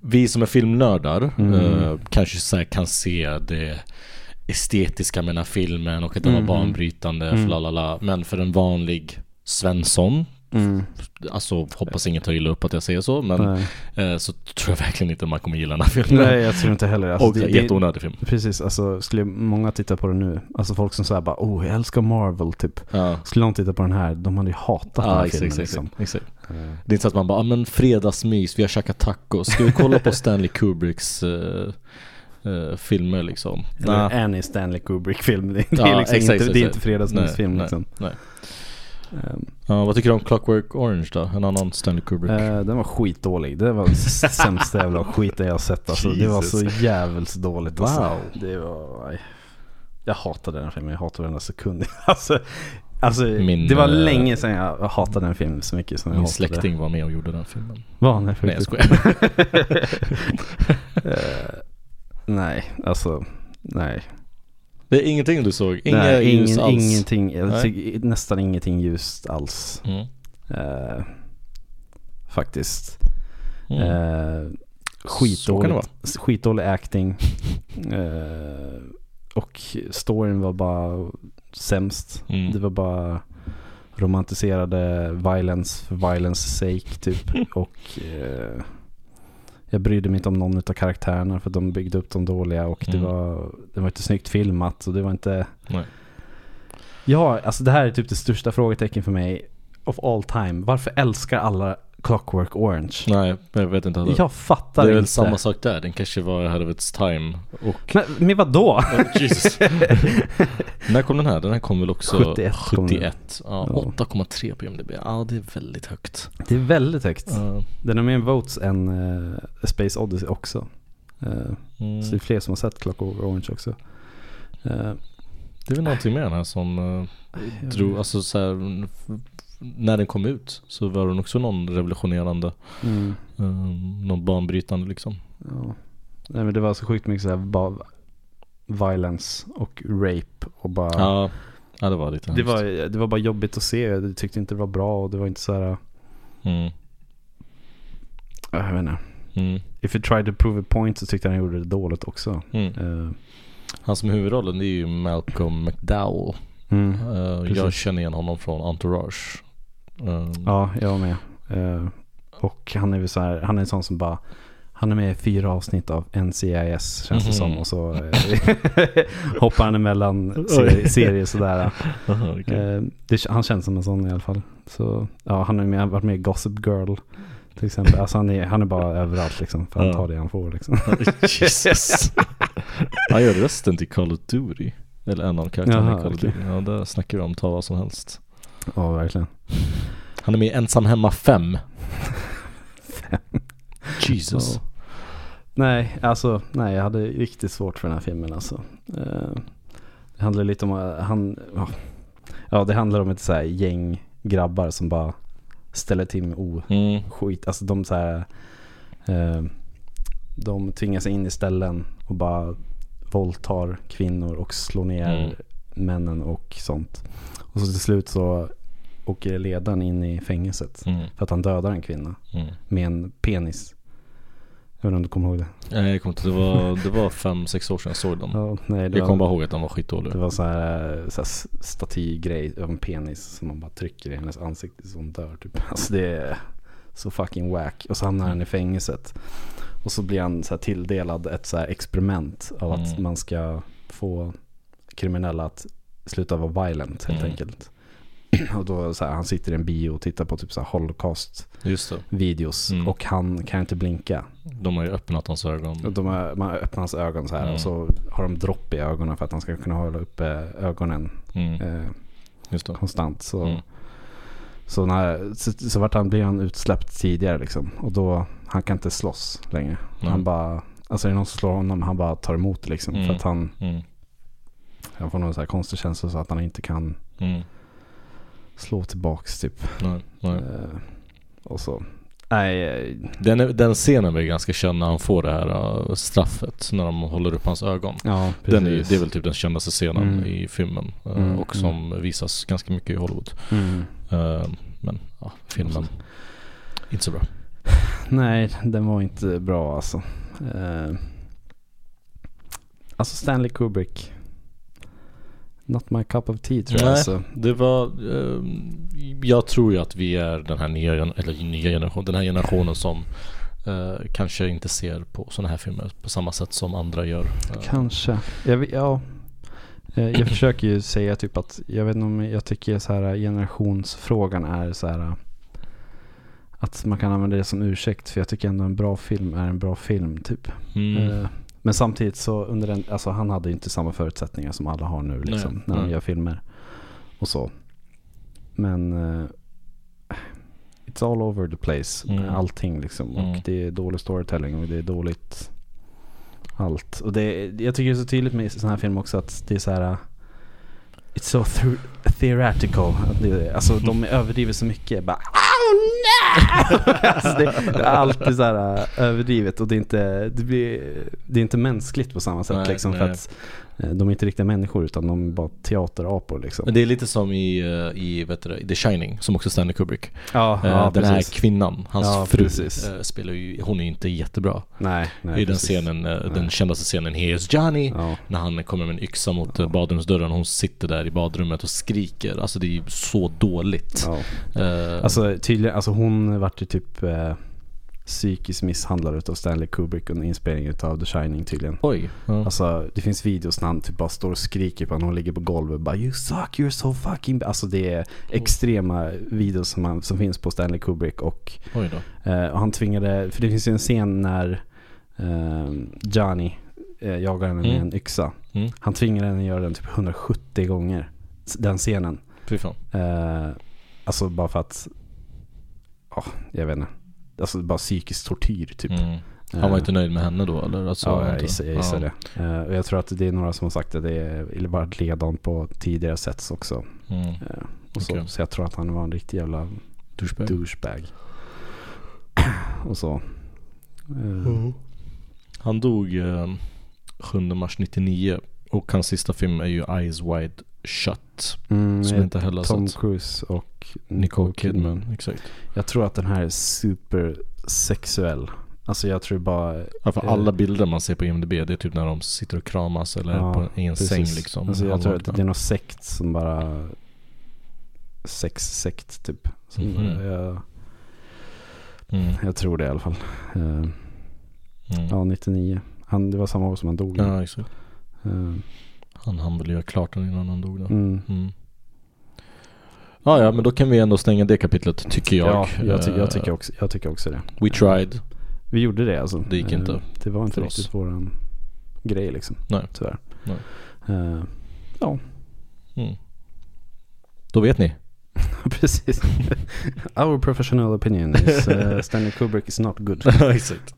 Speaker 2: vi som är filmnördar
Speaker 3: Mm.
Speaker 2: eh, kanske så här kan se det estetiska med den här filmen och att den
Speaker 3: Mm.
Speaker 2: var banbrytande,
Speaker 3: Mm.
Speaker 2: flalala. Men för en vanlig Svensson, alltså hoppas ingen tar illa upp att jag säger så, men
Speaker 3: Nej.
Speaker 2: eh, så tror jag verkligen inte man kommer gilla den här filmen.
Speaker 3: Nej, jag tror inte heller alltså,
Speaker 2: och det, jätteonödig film.
Speaker 3: Precis, alltså skulle många titta på den nu, alltså folk som säger bara oh jag älskar Marvel typ.
Speaker 2: Ja.
Speaker 3: Skulle de titta på den här, de hade ju hatat den
Speaker 2: Ja,
Speaker 3: här
Speaker 2: exakt,
Speaker 3: filmen
Speaker 2: exakt,
Speaker 3: liksom.
Speaker 2: exakt.
Speaker 3: Eh,
Speaker 2: Det är inte så att man bara, ah, men fredagsmys, vi har käkat tacos. Ska vi kolla på Stanley Kubricks eh, eh, filmer liksom?
Speaker 3: Eller
Speaker 2: Nej.
Speaker 3: Annie Stanley Kubrick-film, det, det
Speaker 2: Ja,
Speaker 3: är liksom
Speaker 2: exakt,
Speaker 3: inte, det är
Speaker 2: exakt.
Speaker 3: inte fredagsmysfilm
Speaker 2: Nej,
Speaker 3: liksom.
Speaker 2: nej.
Speaker 3: Eh,
Speaker 2: Ja, vad tycker du om Clockwork Orange då? En annan Stanley Kubrick.
Speaker 3: eh, den var skitdålig, det var sämsta jävla skiten jag har sett alltså. Det var så jävligt dåligt alltså.
Speaker 2: Wow.
Speaker 3: Det var, nej. jag hatade den här filmen, jag hatade varenda sekund. Alltså, alltså
Speaker 2: Min,
Speaker 3: det var
Speaker 2: eh,
Speaker 3: länge sedan jag hatade den filmen så mycket som jag
Speaker 2: Min
Speaker 3: hatade.
Speaker 2: släkting var med och gjorde den filmen.
Speaker 3: Vad? Nej, för
Speaker 2: Nej jag
Speaker 3: riktigt.
Speaker 2: skojar.
Speaker 3: Eh, nej, alltså nej.
Speaker 2: Det är ingenting du såg? Inga
Speaker 3: nej
Speaker 2: ljus
Speaker 3: ingen-
Speaker 2: alls?
Speaker 3: Ingenting, jag
Speaker 2: Nej.
Speaker 3: tycker nästan ingenting ljust alls.
Speaker 2: Mm.
Speaker 3: Eh, faktiskt.
Speaker 2: Mm.
Speaker 3: Eh,
Speaker 2: Så kan det vara.
Speaker 3: skitdåligt, skitdålig acting. Eh, och storyn var bara sämst.
Speaker 2: Mm.
Speaker 3: Det var bara romantiserade violence för violence sake typ. och eh, jag brydde mig inte om någon av karaktärerna för de byggde upp de dåliga och det,
Speaker 2: Mm.
Speaker 3: var, det var inte snyggt filmat och det var inte...
Speaker 2: Nej.
Speaker 3: Ja, alltså det här är typ det största frågetecken för mig of all time. Varför älskar alla Clockwork Orange?
Speaker 2: Nej, jag vet inte heller.
Speaker 3: Jag
Speaker 2: det
Speaker 3: fattar
Speaker 2: är väl
Speaker 3: inte.
Speaker 2: samma sak där. Den kanske var ahead of its time. Och...
Speaker 3: Men, men vadå?
Speaker 2: Oh, Jesus. När kom den här? Den här kom väl också
Speaker 3: 71 kom den.
Speaker 2: 71. Ja,
Speaker 3: Ja.
Speaker 2: 8,3 på IMDB. Ja, det är väldigt högt.
Speaker 3: Det är väldigt högt.
Speaker 2: Ja.
Speaker 3: Den har mer votes än eh, Space Odyssey också. Eh,
Speaker 2: Mm.
Speaker 3: Så det är fler som har sett Clockwork Orange också. Eh,
Speaker 2: Det är väl någonting med den här som eh,
Speaker 3: Mm.
Speaker 2: drog, alltså så här, f- när den kom ut så var den också någon revolutionerande,
Speaker 3: mm,
Speaker 2: eh, någon banbrytande liksom.
Speaker 3: ja. Nej men det var så sjukt mycket så här bara violence och rape och bara.
Speaker 2: Ja, ja det var lite
Speaker 3: det,
Speaker 2: hemskt.
Speaker 3: var, det var bara jobbigt att se. Jag tyckte inte det var bra och det var inte så här. eh,
Speaker 2: mm.
Speaker 3: Jag vet inte.
Speaker 2: Mm.
Speaker 3: If you tried to prove a point så tyckte jag han gjorde det dåligt också.
Speaker 2: Mm.
Speaker 3: Eh,
Speaker 2: Han som är huvudrollen det är ju Malcolm McDowell.
Speaker 3: mm.
Speaker 2: Eh, jag
Speaker 3: Precis.
Speaker 2: känner igen honom från Entourage. Eh,
Speaker 3: Ja, jag med. Eh, och han är väl så här, han är en sån som bara, Han är med i fyra avsnitt av NCIS känns det som
Speaker 2: Mhm.
Speaker 3: och så eh, hoppar han emellan serier, serier sådär.
Speaker 2: Aha, okej.
Speaker 3: Eh, det, han känns som en sån i alla fall. Så, ja, han har ju med- varit med i Gossip Girl till exempel. Alltså han, är, han är bara överallt liksom för han
Speaker 2: Ja.
Speaker 3: tar det han får liksom.
Speaker 2: Jesus. Han gör rösten till Call of Duty. Eller en av karaktärerna
Speaker 3: Jaha,
Speaker 2: i Call of
Speaker 3: okej.
Speaker 2: Duty. Ja, där snackar vi om ta vad som helst.
Speaker 3: Ja, verkligen.
Speaker 2: Han är med i Ensam Hemma 5. Jesus.
Speaker 3: Ja. Nej, alltså nej, jag hade riktigt svårt för den här filmen alltså. Eh, det handlar lite om, eh, han, ja. ja det handlar om ett så här gäng grabbar som bara ställer till med o
Speaker 2: Mm.
Speaker 3: skit. Alltså de så här, eh, de tvingar sig in i ställen och bara våldtar kvinnor och slår ner
Speaker 2: Mm.
Speaker 3: männen och sånt. Och så till slut så åker ledaren in i fängelset
Speaker 2: Mm.
Speaker 3: för att han dödar en kvinna
Speaker 2: Mm.
Speaker 3: med en penis. Jag vet inte om du kommer ihåg det?
Speaker 2: Nej, jag kommer inte. Det var, det var fem, sex år sedan jag såg dem.
Speaker 3: Ja, nej, det
Speaker 2: jag kommer
Speaker 3: var,
Speaker 2: bara ihåg att de var
Speaker 3: det
Speaker 2: skitdåliga.
Speaker 3: var så här, eh, så här s- statygrej av en penis som man bara trycker i hennes ansikte så hon dör typ. Alltså det är så fucking whack. Och så hamnar han i fängelset. Och så blir han så här tilldelad ett så här experiment av att
Speaker 2: Mm.
Speaker 3: man ska få kriminella att sluta vara violent helt
Speaker 2: Mm.
Speaker 3: enkelt. Och då så här, han sitter i en bio och tittar på typ så här holocaust-videos
Speaker 2: Just det. Mm.
Speaker 3: och han kan inte blinka.
Speaker 2: De har ju öppnat hans
Speaker 3: Och
Speaker 2: ögon.
Speaker 3: De har, man öppnar hans ögon så här
Speaker 2: Mm.
Speaker 3: och så har de dropp i ögonen för att han ska kunna hålla uppe ögonen
Speaker 2: Mm.
Speaker 3: eh,
Speaker 2: Just det.
Speaker 3: konstant. Så,
Speaker 2: Mm.
Speaker 3: så, när, så, så vart han, blir han utsläppt tidigare liksom. Och då, han kan inte slåss längre.
Speaker 2: Nej.
Speaker 3: Han bara, alltså är det någon som slår honom, han bara tar emot liksom.
Speaker 2: Mm.
Speaker 3: För att han,
Speaker 2: Mm.
Speaker 3: han får någon så här konstig känsla så att han inte kan
Speaker 2: Mm.
Speaker 3: slå tillbaks typ.
Speaker 2: Nej, nej.
Speaker 3: Eh, och så. Nej, eh,
Speaker 2: Den, är- den scenen blir ganska känd när han får det här uh, straffet. När de håller upp hans ögon.
Speaker 3: ja precis.
Speaker 2: Den är, ju- det är väl typ den kändaste scenen
Speaker 3: Mm.
Speaker 2: i filmen. eh,
Speaker 3: Mm,
Speaker 2: Och som visas ganska mycket i Hollywood.
Speaker 3: Mm.
Speaker 2: Eh, Men ja, filmen, inte så bra.
Speaker 3: Nej, den var inte bra alltså. Eh, alltså Stanley Kubrick. Not my cup of tea tror jag.
Speaker 2: Nej.
Speaker 3: Alltså.
Speaker 2: Det var, eh, jag tror ju att vi är den här nya, gen- eller nya generationen, den här generationen som eh, kanske inte ser på sådana här filmer på samma sätt som andra gör. Eh,
Speaker 3: Kanske. Jag, vet- ja, Eh, jag försöker ju säga typ att jag vet inte om jag tycker så här eh, generationsfrågan är så här eh, att man kan använda det som ursäkt för jag tycker ändå en bra film är en bra film typ.
Speaker 2: Mm.
Speaker 3: Eh, Men samtidigt så under den, alltså han hade ju inte samma förutsättningar som alla har nu liksom
Speaker 2: Nej,
Speaker 3: när de
Speaker 2: nej.
Speaker 3: gör filmer och så. Men eh, it's all over the place,
Speaker 2: Mm.
Speaker 3: allting liksom. Och
Speaker 2: Mm.
Speaker 3: det är dålig storytelling och det är dåligt allt. Och det, jag tycker det är så tydligt med sådana här film också att det är så här eh, It's so th- theoretical. Att det- Alltså de överdriver så mycket. Bara, oh no! alltså, det, det är alltid så här äh, överdrivet och det är inte, det blir, det är inte mänskligt på samma sätt.
Speaker 2: Nej,
Speaker 3: liksom, för
Speaker 2: nej.
Speaker 3: att eh, de är inte riktiga människor utan de är bara teaterapor. Liksom.
Speaker 2: Men det är lite som i, eh, i vet du, det, The Shining, som också Stanley Kubrick.
Speaker 3: ja,
Speaker 2: Eh,
Speaker 3: ja,
Speaker 2: den här
Speaker 3: precis.
Speaker 2: kvinnan, hans
Speaker 3: Ja,
Speaker 2: fru,
Speaker 3: precis.
Speaker 2: eh, spelar ju, hon är ju inte jättebra.
Speaker 3: nej, nej,
Speaker 2: I den
Speaker 3: precis.
Speaker 2: scenen, eh,
Speaker 3: Nej.
Speaker 2: den kändaste scenen, Here's Johnny.
Speaker 3: Ja.
Speaker 2: När han kommer med en yxa mot ja. badrumsdörren, hon sitter där i badrummet och skriker. Alltså det är ju så dåligt.
Speaker 3: Ja.
Speaker 2: Eh,
Speaker 3: Alltså tydligen, alltså hon vart ju typ eh, psykiskt misshandlad utav Stanley Kubrick under inspelningen utav The Shining tydligen.
Speaker 2: Oj. Ja.
Speaker 3: Alltså det finns videos när han typ bara står och skriker på henne. Hon ligger på golvet och bara You suck, you're so fucking bad." Alltså det är
Speaker 2: Mm.
Speaker 3: extrema videos som, han, som finns på Stanley Kubrick. Och,
Speaker 2: Oj då.
Speaker 3: eh, och han tvingade, för det finns ju en scen när eh, Johnny eh, jagar henne med
Speaker 2: Mm.
Speaker 3: en yxa.
Speaker 2: Mm.
Speaker 3: Han tvingade henne att göra den typ 170 gånger. s- Den scenen.
Speaker 2: Fy fan.
Speaker 3: Eh, alltså bara för att, ja jag vet inte. Alltså bara psykisk tortyr typ.
Speaker 2: Mm. Han
Speaker 3: Eh.
Speaker 2: var inte nöjd med henne då eller? Alltså,
Speaker 3: Ja, jag
Speaker 2: inte.
Speaker 3: gissar, jag gissar
Speaker 2: Ja.
Speaker 3: det. Eh, och jag tror att det är några som har sagt att det är eller bara ett ledan på tidigare sätts också.
Speaker 2: Mm.
Speaker 3: Eh, och så,
Speaker 2: Okej.
Speaker 3: så jag tror att han var en riktig jävla
Speaker 2: Douchebag.
Speaker 3: douchebag. och så. Eh,
Speaker 2: Mm. Han dog eh, 7 mars 99 och hans sista film är ju Eyes Wide Shut.
Speaker 3: mm,
Speaker 2: Som
Speaker 3: eh,
Speaker 2: jag inte heller har
Speaker 3: Tom
Speaker 2: sett.
Speaker 3: Cruise och
Speaker 2: Nicole Kidman. Exakt.
Speaker 3: Jag tror att den här är supersexuell. Alltså jag tror bara...
Speaker 2: Ja, för
Speaker 3: Eh.
Speaker 2: alla bilder man ser på IMDB det är typ när de sitter och kramas eller
Speaker 3: Ja,
Speaker 2: på, i en säng liksom.
Speaker 3: Alltså jag tror att
Speaker 2: halvnakna.
Speaker 3: det är någon sekt som bara... Sexsekt typ. Som,
Speaker 2: Mhm.
Speaker 3: jag,
Speaker 2: Mm.
Speaker 3: jag tror det i alla fall. Eh,
Speaker 2: Mm.
Speaker 3: Ja, 99. Han, det var samma år som han dog.
Speaker 2: Ja, exakt.
Speaker 3: Eh,
Speaker 2: Han hann väl göra klart den innan han dog då.
Speaker 3: mm.
Speaker 2: Mm. Ja, ja, men då kan vi ändå stänga det kapitlet tycker jag.
Speaker 3: Ja, jag, ty- jag,
Speaker 2: Eh,
Speaker 3: tycker också, jag tycker också det.
Speaker 2: We tried.
Speaker 3: Vi gjorde det alltså.
Speaker 2: Det gick
Speaker 3: Eh,
Speaker 2: inte
Speaker 3: Det var inte
Speaker 2: för
Speaker 3: riktigt
Speaker 2: oss.
Speaker 3: våran grej liksom.
Speaker 2: Nej.
Speaker 3: Tyvärr.
Speaker 2: Nej.
Speaker 3: Eh,
Speaker 2: Mm. Då vet ni.
Speaker 3: precis. Our professional opinion is eh, Stanley Kubrick is not good.
Speaker 2: exakt.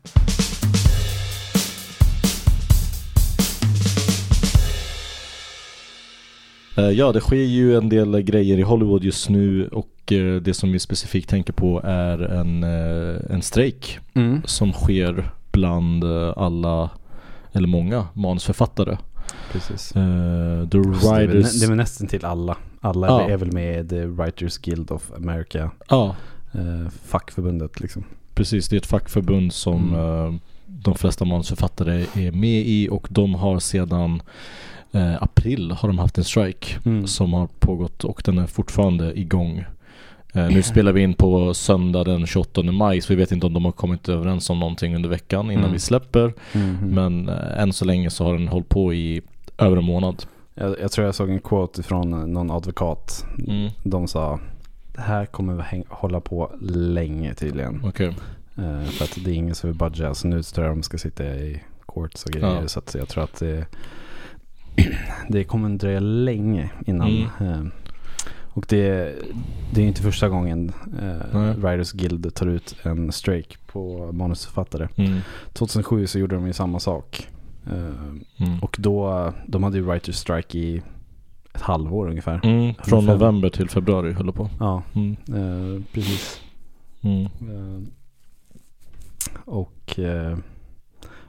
Speaker 2: Eh, Ja, det sker ju en del grejer i Hollywood just nu och eh, det som vi specifikt tänker på är en, eh, en strejk
Speaker 3: Mm.
Speaker 2: som sker bland eh, alla, eller många, manusförfattare.
Speaker 3: Precis.
Speaker 2: Eh, The
Speaker 3: Fast Det är, väl,
Speaker 2: Writers...
Speaker 3: nä- det är väl nästan till alla. Alla
Speaker 2: Ja.
Speaker 3: är väl med i The Writers Guild of America,
Speaker 2: Ja,
Speaker 3: eh, fackförbundet liksom.
Speaker 2: precis. Det är ett fackförbund som
Speaker 3: Mm.
Speaker 2: eh, de flesta manusförfattare är med i och de har sedan eh, april har de haft en strike
Speaker 3: Mm.
Speaker 2: som har pågått och den är fortfarande igång. Eh, nu spelar vi in på söndag den 28 maj så vi vet inte om de har kommit överens om någonting under veckan innan
Speaker 3: Mm.
Speaker 2: vi släpper.
Speaker 3: Mhm.
Speaker 2: Men eh, än så länge så har den hållit på i över en månad.
Speaker 3: Jag, jag tror jag såg en quote från någon advokat.
Speaker 2: Mm.
Speaker 3: De sa det här kommer vi häng- hålla på länge tydligen.
Speaker 2: Okej, Mm.
Speaker 3: Eh, för att det är ingen som vill budga. Så nu tror jag de ska sitta i courts och grejer.
Speaker 2: Ja.
Speaker 3: Så att jag tror att det, det kommer dröja länge innan.
Speaker 2: Mm.
Speaker 3: eh, och det, det är inte första gången eh,
Speaker 2: Nej.
Speaker 3: Writers Guild tar ut en strejk på manusförfattare.
Speaker 2: mm.
Speaker 3: 2007 så gjorde de ju samma sak. Eh,
Speaker 2: Mm.
Speaker 3: och då, de hade ju Writers Strike i ett halvår ungefär.
Speaker 2: Mm. Från
Speaker 3: Ungefär.
Speaker 2: november till februari höll det på.
Speaker 3: Ja,
Speaker 2: Mm.
Speaker 3: eh, precis.
Speaker 2: Mm.
Speaker 3: Eh, och eh,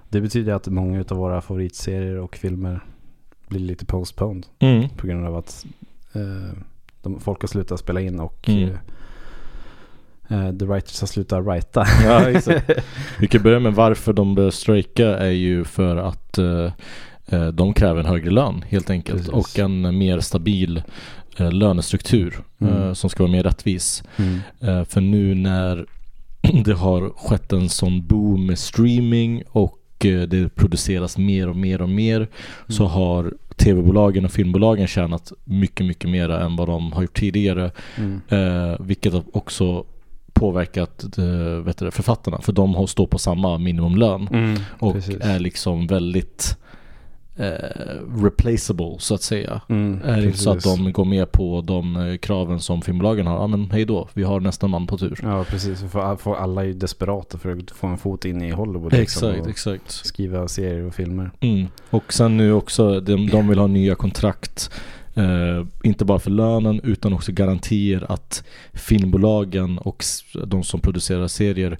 Speaker 3: det betyder att många av våra favoritserier och filmer blir lite postponed
Speaker 2: Mm.
Speaker 3: på grund av att eh, de, folk har slutat spela in och
Speaker 2: Mm.
Speaker 3: eh, eh, the writers har slutat writa.
Speaker 2: Ja, exakt. Vi kan börja med varför de börjar strejka är ju för att eh, eh, de kräver en högre lön helt enkelt
Speaker 3: Precis.
Speaker 2: och en mer stabil eh, lönestruktur
Speaker 3: Mm.
Speaker 2: eh, som ska vara mer rättvis. Eh, för nu när det har skett en sån boom med streaming och eh, det produceras mer och mer och mer
Speaker 3: Mm.
Speaker 2: så har tv-bolagen och filmbolagen tjänat mycket, mycket mer än vad de har gjort tidigare.
Speaker 3: Mm.
Speaker 2: Eh, vilket har också påverkat eh, vet du, det, författarna. För de har, står på samma minimumlön.
Speaker 3: Mm.
Speaker 2: Och
Speaker 3: Precis.
Speaker 2: är liksom väldigt eh, replaceable så att säga.
Speaker 3: Mm,
Speaker 2: Är det inte så att
Speaker 3: precis.
Speaker 2: de går med på de eh, kraven som filmbolagen har? Ja men hej då, vi har nästa man på tur.
Speaker 3: Ja, precis. För, för alla är ju desperata för att få en fot in i Hollywood. liksom,
Speaker 2: Exakt,
Speaker 3: och-
Speaker 2: exakt.
Speaker 3: skriva serier och filmer.
Speaker 2: Mm. Och sen nu också, de, de vill ha nya kontrakt. Eh, inte bara för lönen utan också garantier att filmbolagen och s- de som producerar serier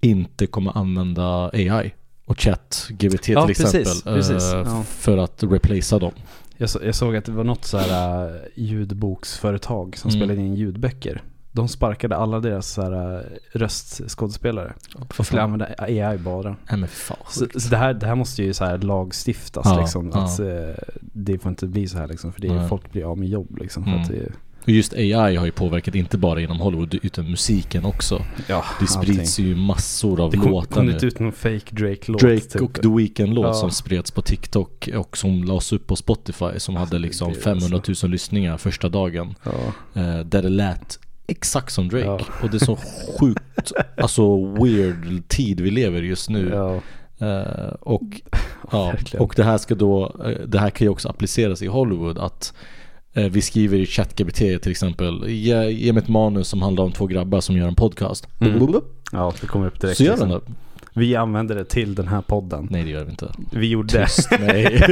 Speaker 2: inte kommer använda AI och chat, GBT
Speaker 3: Ja,
Speaker 2: till
Speaker 3: precis,
Speaker 2: exempel.
Speaker 3: precis.
Speaker 2: eh, f-
Speaker 3: Ja.
Speaker 2: För att replacea dem.
Speaker 3: Jag, så, jag såg att det var något så här äh, ljudboksföretag som
Speaker 2: Mm.
Speaker 3: spelade in ljudböcker. De sparkade alla deras så här, äh, röstskådespelare.
Speaker 2: Vad
Speaker 3: Skulle använda AI bara.
Speaker 2: Nej men fan.
Speaker 3: Så, så det, här, det här måste ju så här lagstiftas
Speaker 2: Ja,
Speaker 3: liksom.
Speaker 2: ja.
Speaker 3: Att, äh, det får inte bli så här liksom. För det är,
Speaker 2: Nej.
Speaker 3: folk blir av med jobb liksom. För
Speaker 2: Mm.
Speaker 3: att det,
Speaker 2: Och just AI har ju påverkat inte bara inom Hollywood utan musiken också.
Speaker 3: ja,
Speaker 2: Det sprids ju massor av
Speaker 3: Det kom,
Speaker 2: låtar
Speaker 3: kom
Speaker 2: nu.
Speaker 3: det inte ut någon fake Drake-låt.
Speaker 2: Drake
Speaker 3: typ.
Speaker 2: och The Weeknd-låt
Speaker 3: Ja.
Speaker 2: som spreds på TikTok och som lades upp på Spotify som hade liksom
Speaker 3: det är alltså-
Speaker 2: 500 000 lyssningar första dagen.
Speaker 3: Ja.
Speaker 2: Eh, där det lät exakt som Drake.
Speaker 3: Ja.
Speaker 2: Och det är så sjukt, alltså weird tid vi lever i just nu.
Speaker 3: Ja.
Speaker 2: Eh, och, ja,
Speaker 3: Verkligen.
Speaker 2: och det här ska då, eh, det här kan ju också appliceras i Hollywood att eh, vi skriver i ChatGPT till exempel, ge, ge mig ett manus som handlar om två grabbar som gör en podcast.
Speaker 3: ja, det kommer upp Mm. direkt.
Speaker 2: Så gör den
Speaker 3: liksom.
Speaker 2: det. Mm.
Speaker 3: Vi använder det till den här podden.
Speaker 2: Nej det gör vi inte.
Speaker 3: Vi gjorde det.
Speaker 2: Nej.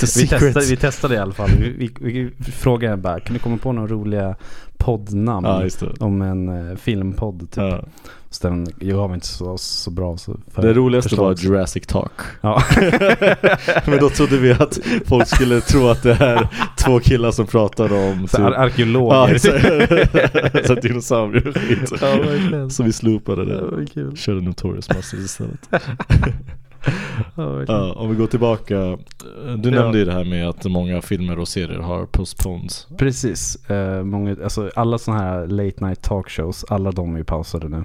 Speaker 2: The
Speaker 3: Vi
Speaker 2: secret.
Speaker 3: testade, vi testade i alla fall. Vi, vi, vi frågade bara, kan du komma på några roliga poddnamn?
Speaker 2: Ja, just det.
Speaker 3: Om en eh, filmpodd typ.
Speaker 2: Ja.
Speaker 3: Så den gav inte så, så bra så för
Speaker 2: Det roligaste
Speaker 3: förslag.
Speaker 2: var Jurassic Talk.
Speaker 3: Ja.
Speaker 2: Men då trodde vi att folk skulle tro att det är två killar som pratar om typ-
Speaker 3: så ar-
Speaker 2: Ja,
Speaker 3: arkeologer.
Speaker 2: exakt. Så dinosaurier och skit.
Speaker 3: Ja, verkligen.
Speaker 2: Så vi slopade
Speaker 3: Ja,
Speaker 2: det.
Speaker 3: vad kul.
Speaker 2: Körde Notorious Masters istället.
Speaker 3: Ja, verkligen.
Speaker 2: Ja, om vi går tillbaka. Du
Speaker 3: Ja.
Speaker 2: nämnde ju det här med att många filmer och serier har postpones.
Speaker 3: Mm. Precis. Eh, många, alltså, alla sådana här late night talkshows, alla de är ju pausade nu.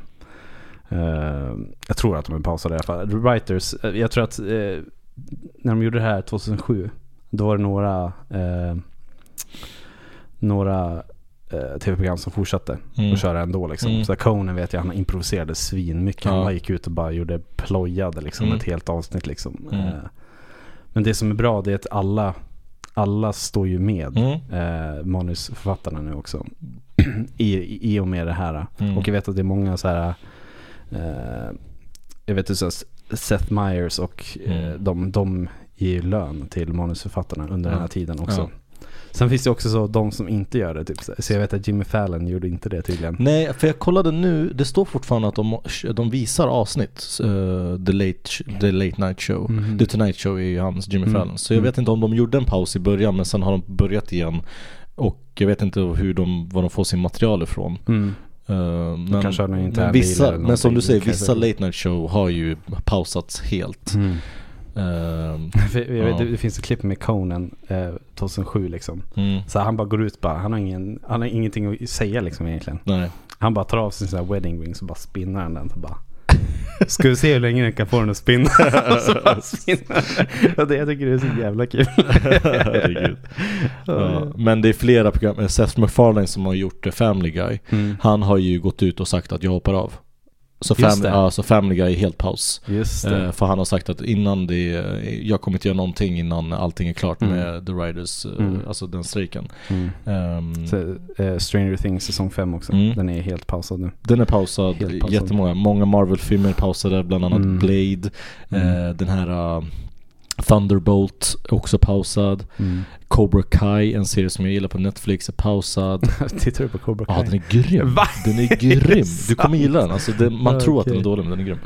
Speaker 3: Eh, jag tror att de är pausade i alla fall. The Writers, eh, jag tror att eh, när de gjorde det här 2007, då var det några, eh, några eh, tv-program som fortsatte
Speaker 2: Mm.
Speaker 3: att köra ändå. Liksom.
Speaker 2: Mm.
Speaker 3: Så där Conan vet jag, han improviserade svin mycket.
Speaker 2: Ja.
Speaker 3: Han bara gick ut och bara gjorde plojade liksom,
Speaker 2: Mm.
Speaker 3: ett helt avsnitt. Liksom.
Speaker 2: Mm.
Speaker 3: Eh, men det som är bra det är att alla, alla står ju med
Speaker 2: Mm.
Speaker 3: eh, manusförfattarna nu också. I, i, I och med det här.
Speaker 2: Mm.
Speaker 3: Och jag vet att det är många så här eh, Jag vet att så här Seth Meyers och eh,
Speaker 2: Mm.
Speaker 3: de, de ger ju lön till manusförfattarna under den
Speaker 2: Ja.
Speaker 3: här tiden också.
Speaker 2: Ja.
Speaker 3: Sen finns det också så de som inte gör det. Typ. så här. Så jag vet att Jimmy Fallon gjorde inte det tydligen.
Speaker 2: Nej, för jag kollade nu, det står fortfarande att de, de visar avsnitt, eh, the, late, the Late Night Show.
Speaker 3: Mhm.
Speaker 2: The Tonight Show är ju hans, Jimmy
Speaker 3: Mm.
Speaker 2: Fallon. Så jag
Speaker 3: Mm.
Speaker 2: vet inte om de gjorde en paus i början men sen har de börjat igen. Och jag vet inte hur de, var de får sin material ifrån.
Speaker 3: Mm.
Speaker 2: Eh, men,
Speaker 3: kanske har den inte
Speaker 2: men,
Speaker 3: här bilen
Speaker 2: vissa,
Speaker 3: eller
Speaker 2: men som
Speaker 3: någonting,
Speaker 2: du säger,
Speaker 3: det kan jag
Speaker 2: vissa
Speaker 3: säga.
Speaker 2: late night show har ju pausats helt. Eh,
Speaker 3: Mm. För Jag vet,
Speaker 2: Mm. Ja.
Speaker 3: det, det finns ett klipp med Conan eh, 2007 liksom.
Speaker 2: mm,
Speaker 3: Så han bara går ut bara, han har, ingen, han har ingenting att säga liksom egentligen.
Speaker 2: nej.
Speaker 3: Han bara tar av sig sina wedding rings och bara spinnar han den. Så bara, Ska vi se hur länge den kan få den att spinna? Och så bara spinnar den. Och det jag tycker det är så jävla kul.
Speaker 2: Herregud. Ja, men det är flera program, eh, Seth MacFarlane som har gjort eh, Family Guy. Han har ju gått ut och sagt att jag hoppar av. Så,
Speaker 3: Just
Speaker 2: fam-
Speaker 3: det.
Speaker 2: ja, så Family Guy är helt paus.
Speaker 3: Just
Speaker 2: Eh, för han har sagt att innan det, eh, jag kommer inte göra någonting innan allting är klart
Speaker 3: Mm.
Speaker 2: med The Riders, eh,
Speaker 3: Mm.
Speaker 2: alltså den strejken.
Speaker 3: Mm.
Speaker 2: Ehm,
Speaker 3: Så, eh, Stranger Things säsong 5 också.
Speaker 2: Mm.
Speaker 3: Den är helt pausad nu.
Speaker 2: den är pausad,
Speaker 3: Helt pausad.
Speaker 2: jättemånga. Många Marvel-filmer är pausade, bland annat
Speaker 3: Mm.
Speaker 2: Blade, eh, den här eh, Thunderbolt är också pausad. Cobra Kai, en serie som jag gillar på Netflix, är pausad.
Speaker 3: Tittar du på Cobra
Speaker 2: Ja,
Speaker 3: Kai?
Speaker 2: den är grym.
Speaker 3: Va?
Speaker 2: Den är
Speaker 3: Är det
Speaker 2: grym. Du
Speaker 3: sant?
Speaker 2: kommer gilla den. Alltså, den man
Speaker 3: Ja,
Speaker 2: tror att den
Speaker 3: okej.
Speaker 2: är dålig, men den är grym.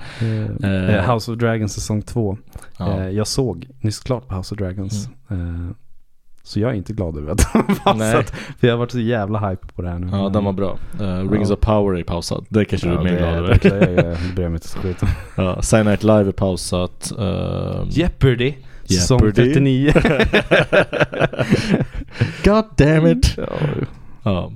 Speaker 3: Eh,
Speaker 2: eh,
Speaker 3: House of Dragons säsong 2.
Speaker 2: Ja. Mm.
Speaker 3: Eh, jag såg nyss klart på House of Dragons. Eh, så jag är inte glad över att de har
Speaker 2: Nej.
Speaker 3: pausat. För jag har varit så jävla hype på det här nu.
Speaker 2: Ja, den var bra. Eh, Rings
Speaker 3: Mm. Ja.
Speaker 2: of Power är pausad. Det kanske du är mer glad
Speaker 3: det,
Speaker 2: över.
Speaker 3: det, det, det bryr jag mig inte så skit om.
Speaker 2: Ja, Saturday Night Live är pausat. Uh,
Speaker 3: Jeopardy. Säsong
Speaker 2: Jeopardy.
Speaker 3: 39.
Speaker 2: God damn it!
Speaker 3: Ja.
Speaker 2: Mm. Ja.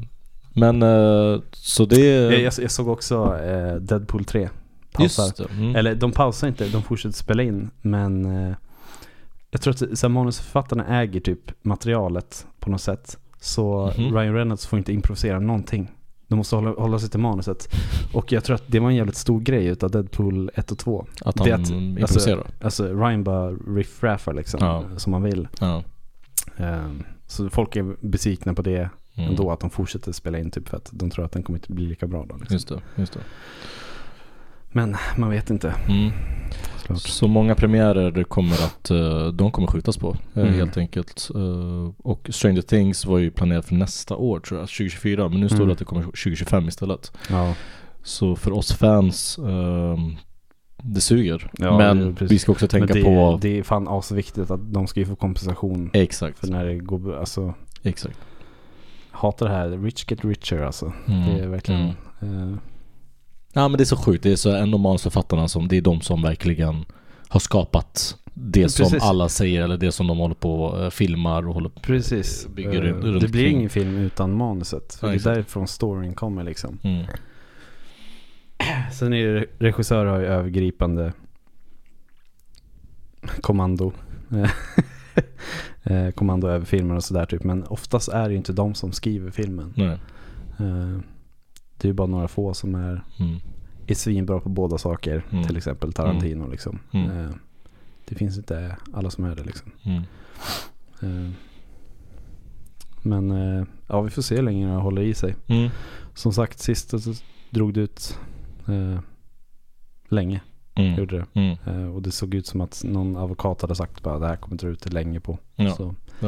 Speaker 2: Men eh, så det är...
Speaker 3: jag, jag, jag såg också eh, Deadpool 3. Pausar.
Speaker 2: just det. Mm.
Speaker 3: Eller de pausar inte, de fortsätter spela in. Men eh, jag tror att så här, manusförfattarna äger typ materialet på något sätt. Så
Speaker 2: Mhm.
Speaker 3: Ryan Reynolds får inte improvisera någonting. De måste hålla, hålla sig till manuset. Och jag tror att det var en jävligt stor grej utav Deadpool 1 och 2.
Speaker 2: att
Speaker 3: det
Speaker 2: han
Speaker 3: att-
Speaker 2: improviserar.
Speaker 3: Alltså Ryan bara riffraffar liksom,
Speaker 2: Ja.
Speaker 3: som man vill.
Speaker 2: ja.
Speaker 3: Eh, så folk är besvikna på det.
Speaker 2: Mm.
Speaker 3: ändå att de fortsätter spela in typ för att de tror att den kommer inte bli lika bra då. Liksom.
Speaker 2: Just det, just det.
Speaker 3: Men man vet inte.
Speaker 2: Mm.
Speaker 3: Såklart.
Speaker 2: Så många premiärer kommer att, eh, de kommer skjutas på eh,
Speaker 3: Mm.
Speaker 2: helt enkelt. Eh, Och Stranger Things var ju planerat för nästa år tror jag, 2024. Men nu står det
Speaker 3: Mm.
Speaker 2: att det kommer 2025 istället.
Speaker 3: Ja,
Speaker 2: Så för oss fans, ehm, det suger.
Speaker 3: Ja, det är
Speaker 2: men
Speaker 3: precis.
Speaker 2: vi ska också tänka
Speaker 3: men det,
Speaker 2: på...
Speaker 3: det är fan asviktigt att de ska ju få kompensation
Speaker 2: Exakt,
Speaker 3: för när det går Alltså,
Speaker 2: exakt.
Speaker 3: hatar det här. Rich get richer alltså.
Speaker 2: Mm.
Speaker 3: Det är verkligen...
Speaker 2: Mm.
Speaker 3: eh,
Speaker 2: Ja men det är så sjukt, det är så ändå manusförfattarna som, det är de som verkligen har skapat det som
Speaker 3: Precis.
Speaker 2: alla säger eller det som de håller på och eh, filmar och håller på.
Speaker 3: precis.
Speaker 2: Bygger
Speaker 3: Eh,
Speaker 2: runt- runt
Speaker 3: det blir
Speaker 2: kring.
Speaker 3: ingen film utan manuset. För
Speaker 2: Ja,
Speaker 3: det är
Speaker 2: exakt.
Speaker 3: därifrån storyn kommer liksom.
Speaker 2: Mm.
Speaker 3: Sen är ju regissörer har ju övergripande kommando. Eh, kommando över filmen och sådär typ. Men oftast är det ju inte de som skriver filmen.
Speaker 2: Nej.
Speaker 3: Eh, Det är ju bara några få som är,
Speaker 2: Mm.
Speaker 3: är svinbra på båda saker.
Speaker 2: Mm.
Speaker 3: Till exempel Tarantino liksom.
Speaker 2: Mm.
Speaker 3: Eh, Det finns inte alla som är det liksom.
Speaker 2: Mm.
Speaker 3: Eh, Men eh, ja, vi får se hur länge det här håller i sig.
Speaker 2: Mm.
Speaker 3: Som sagt, sist så drog det ut eh, länge.
Speaker 2: Mm.
Speaker 3: Gjorde det.
Speaker 2: Mm.
Speaker 3: Eh, Och det såg ut som att någon advokat hade sagt bara det här kommer dra ut det länge på.
Speaker 2: Ja.
Speaker 3: Så
Speaker 2: Ja.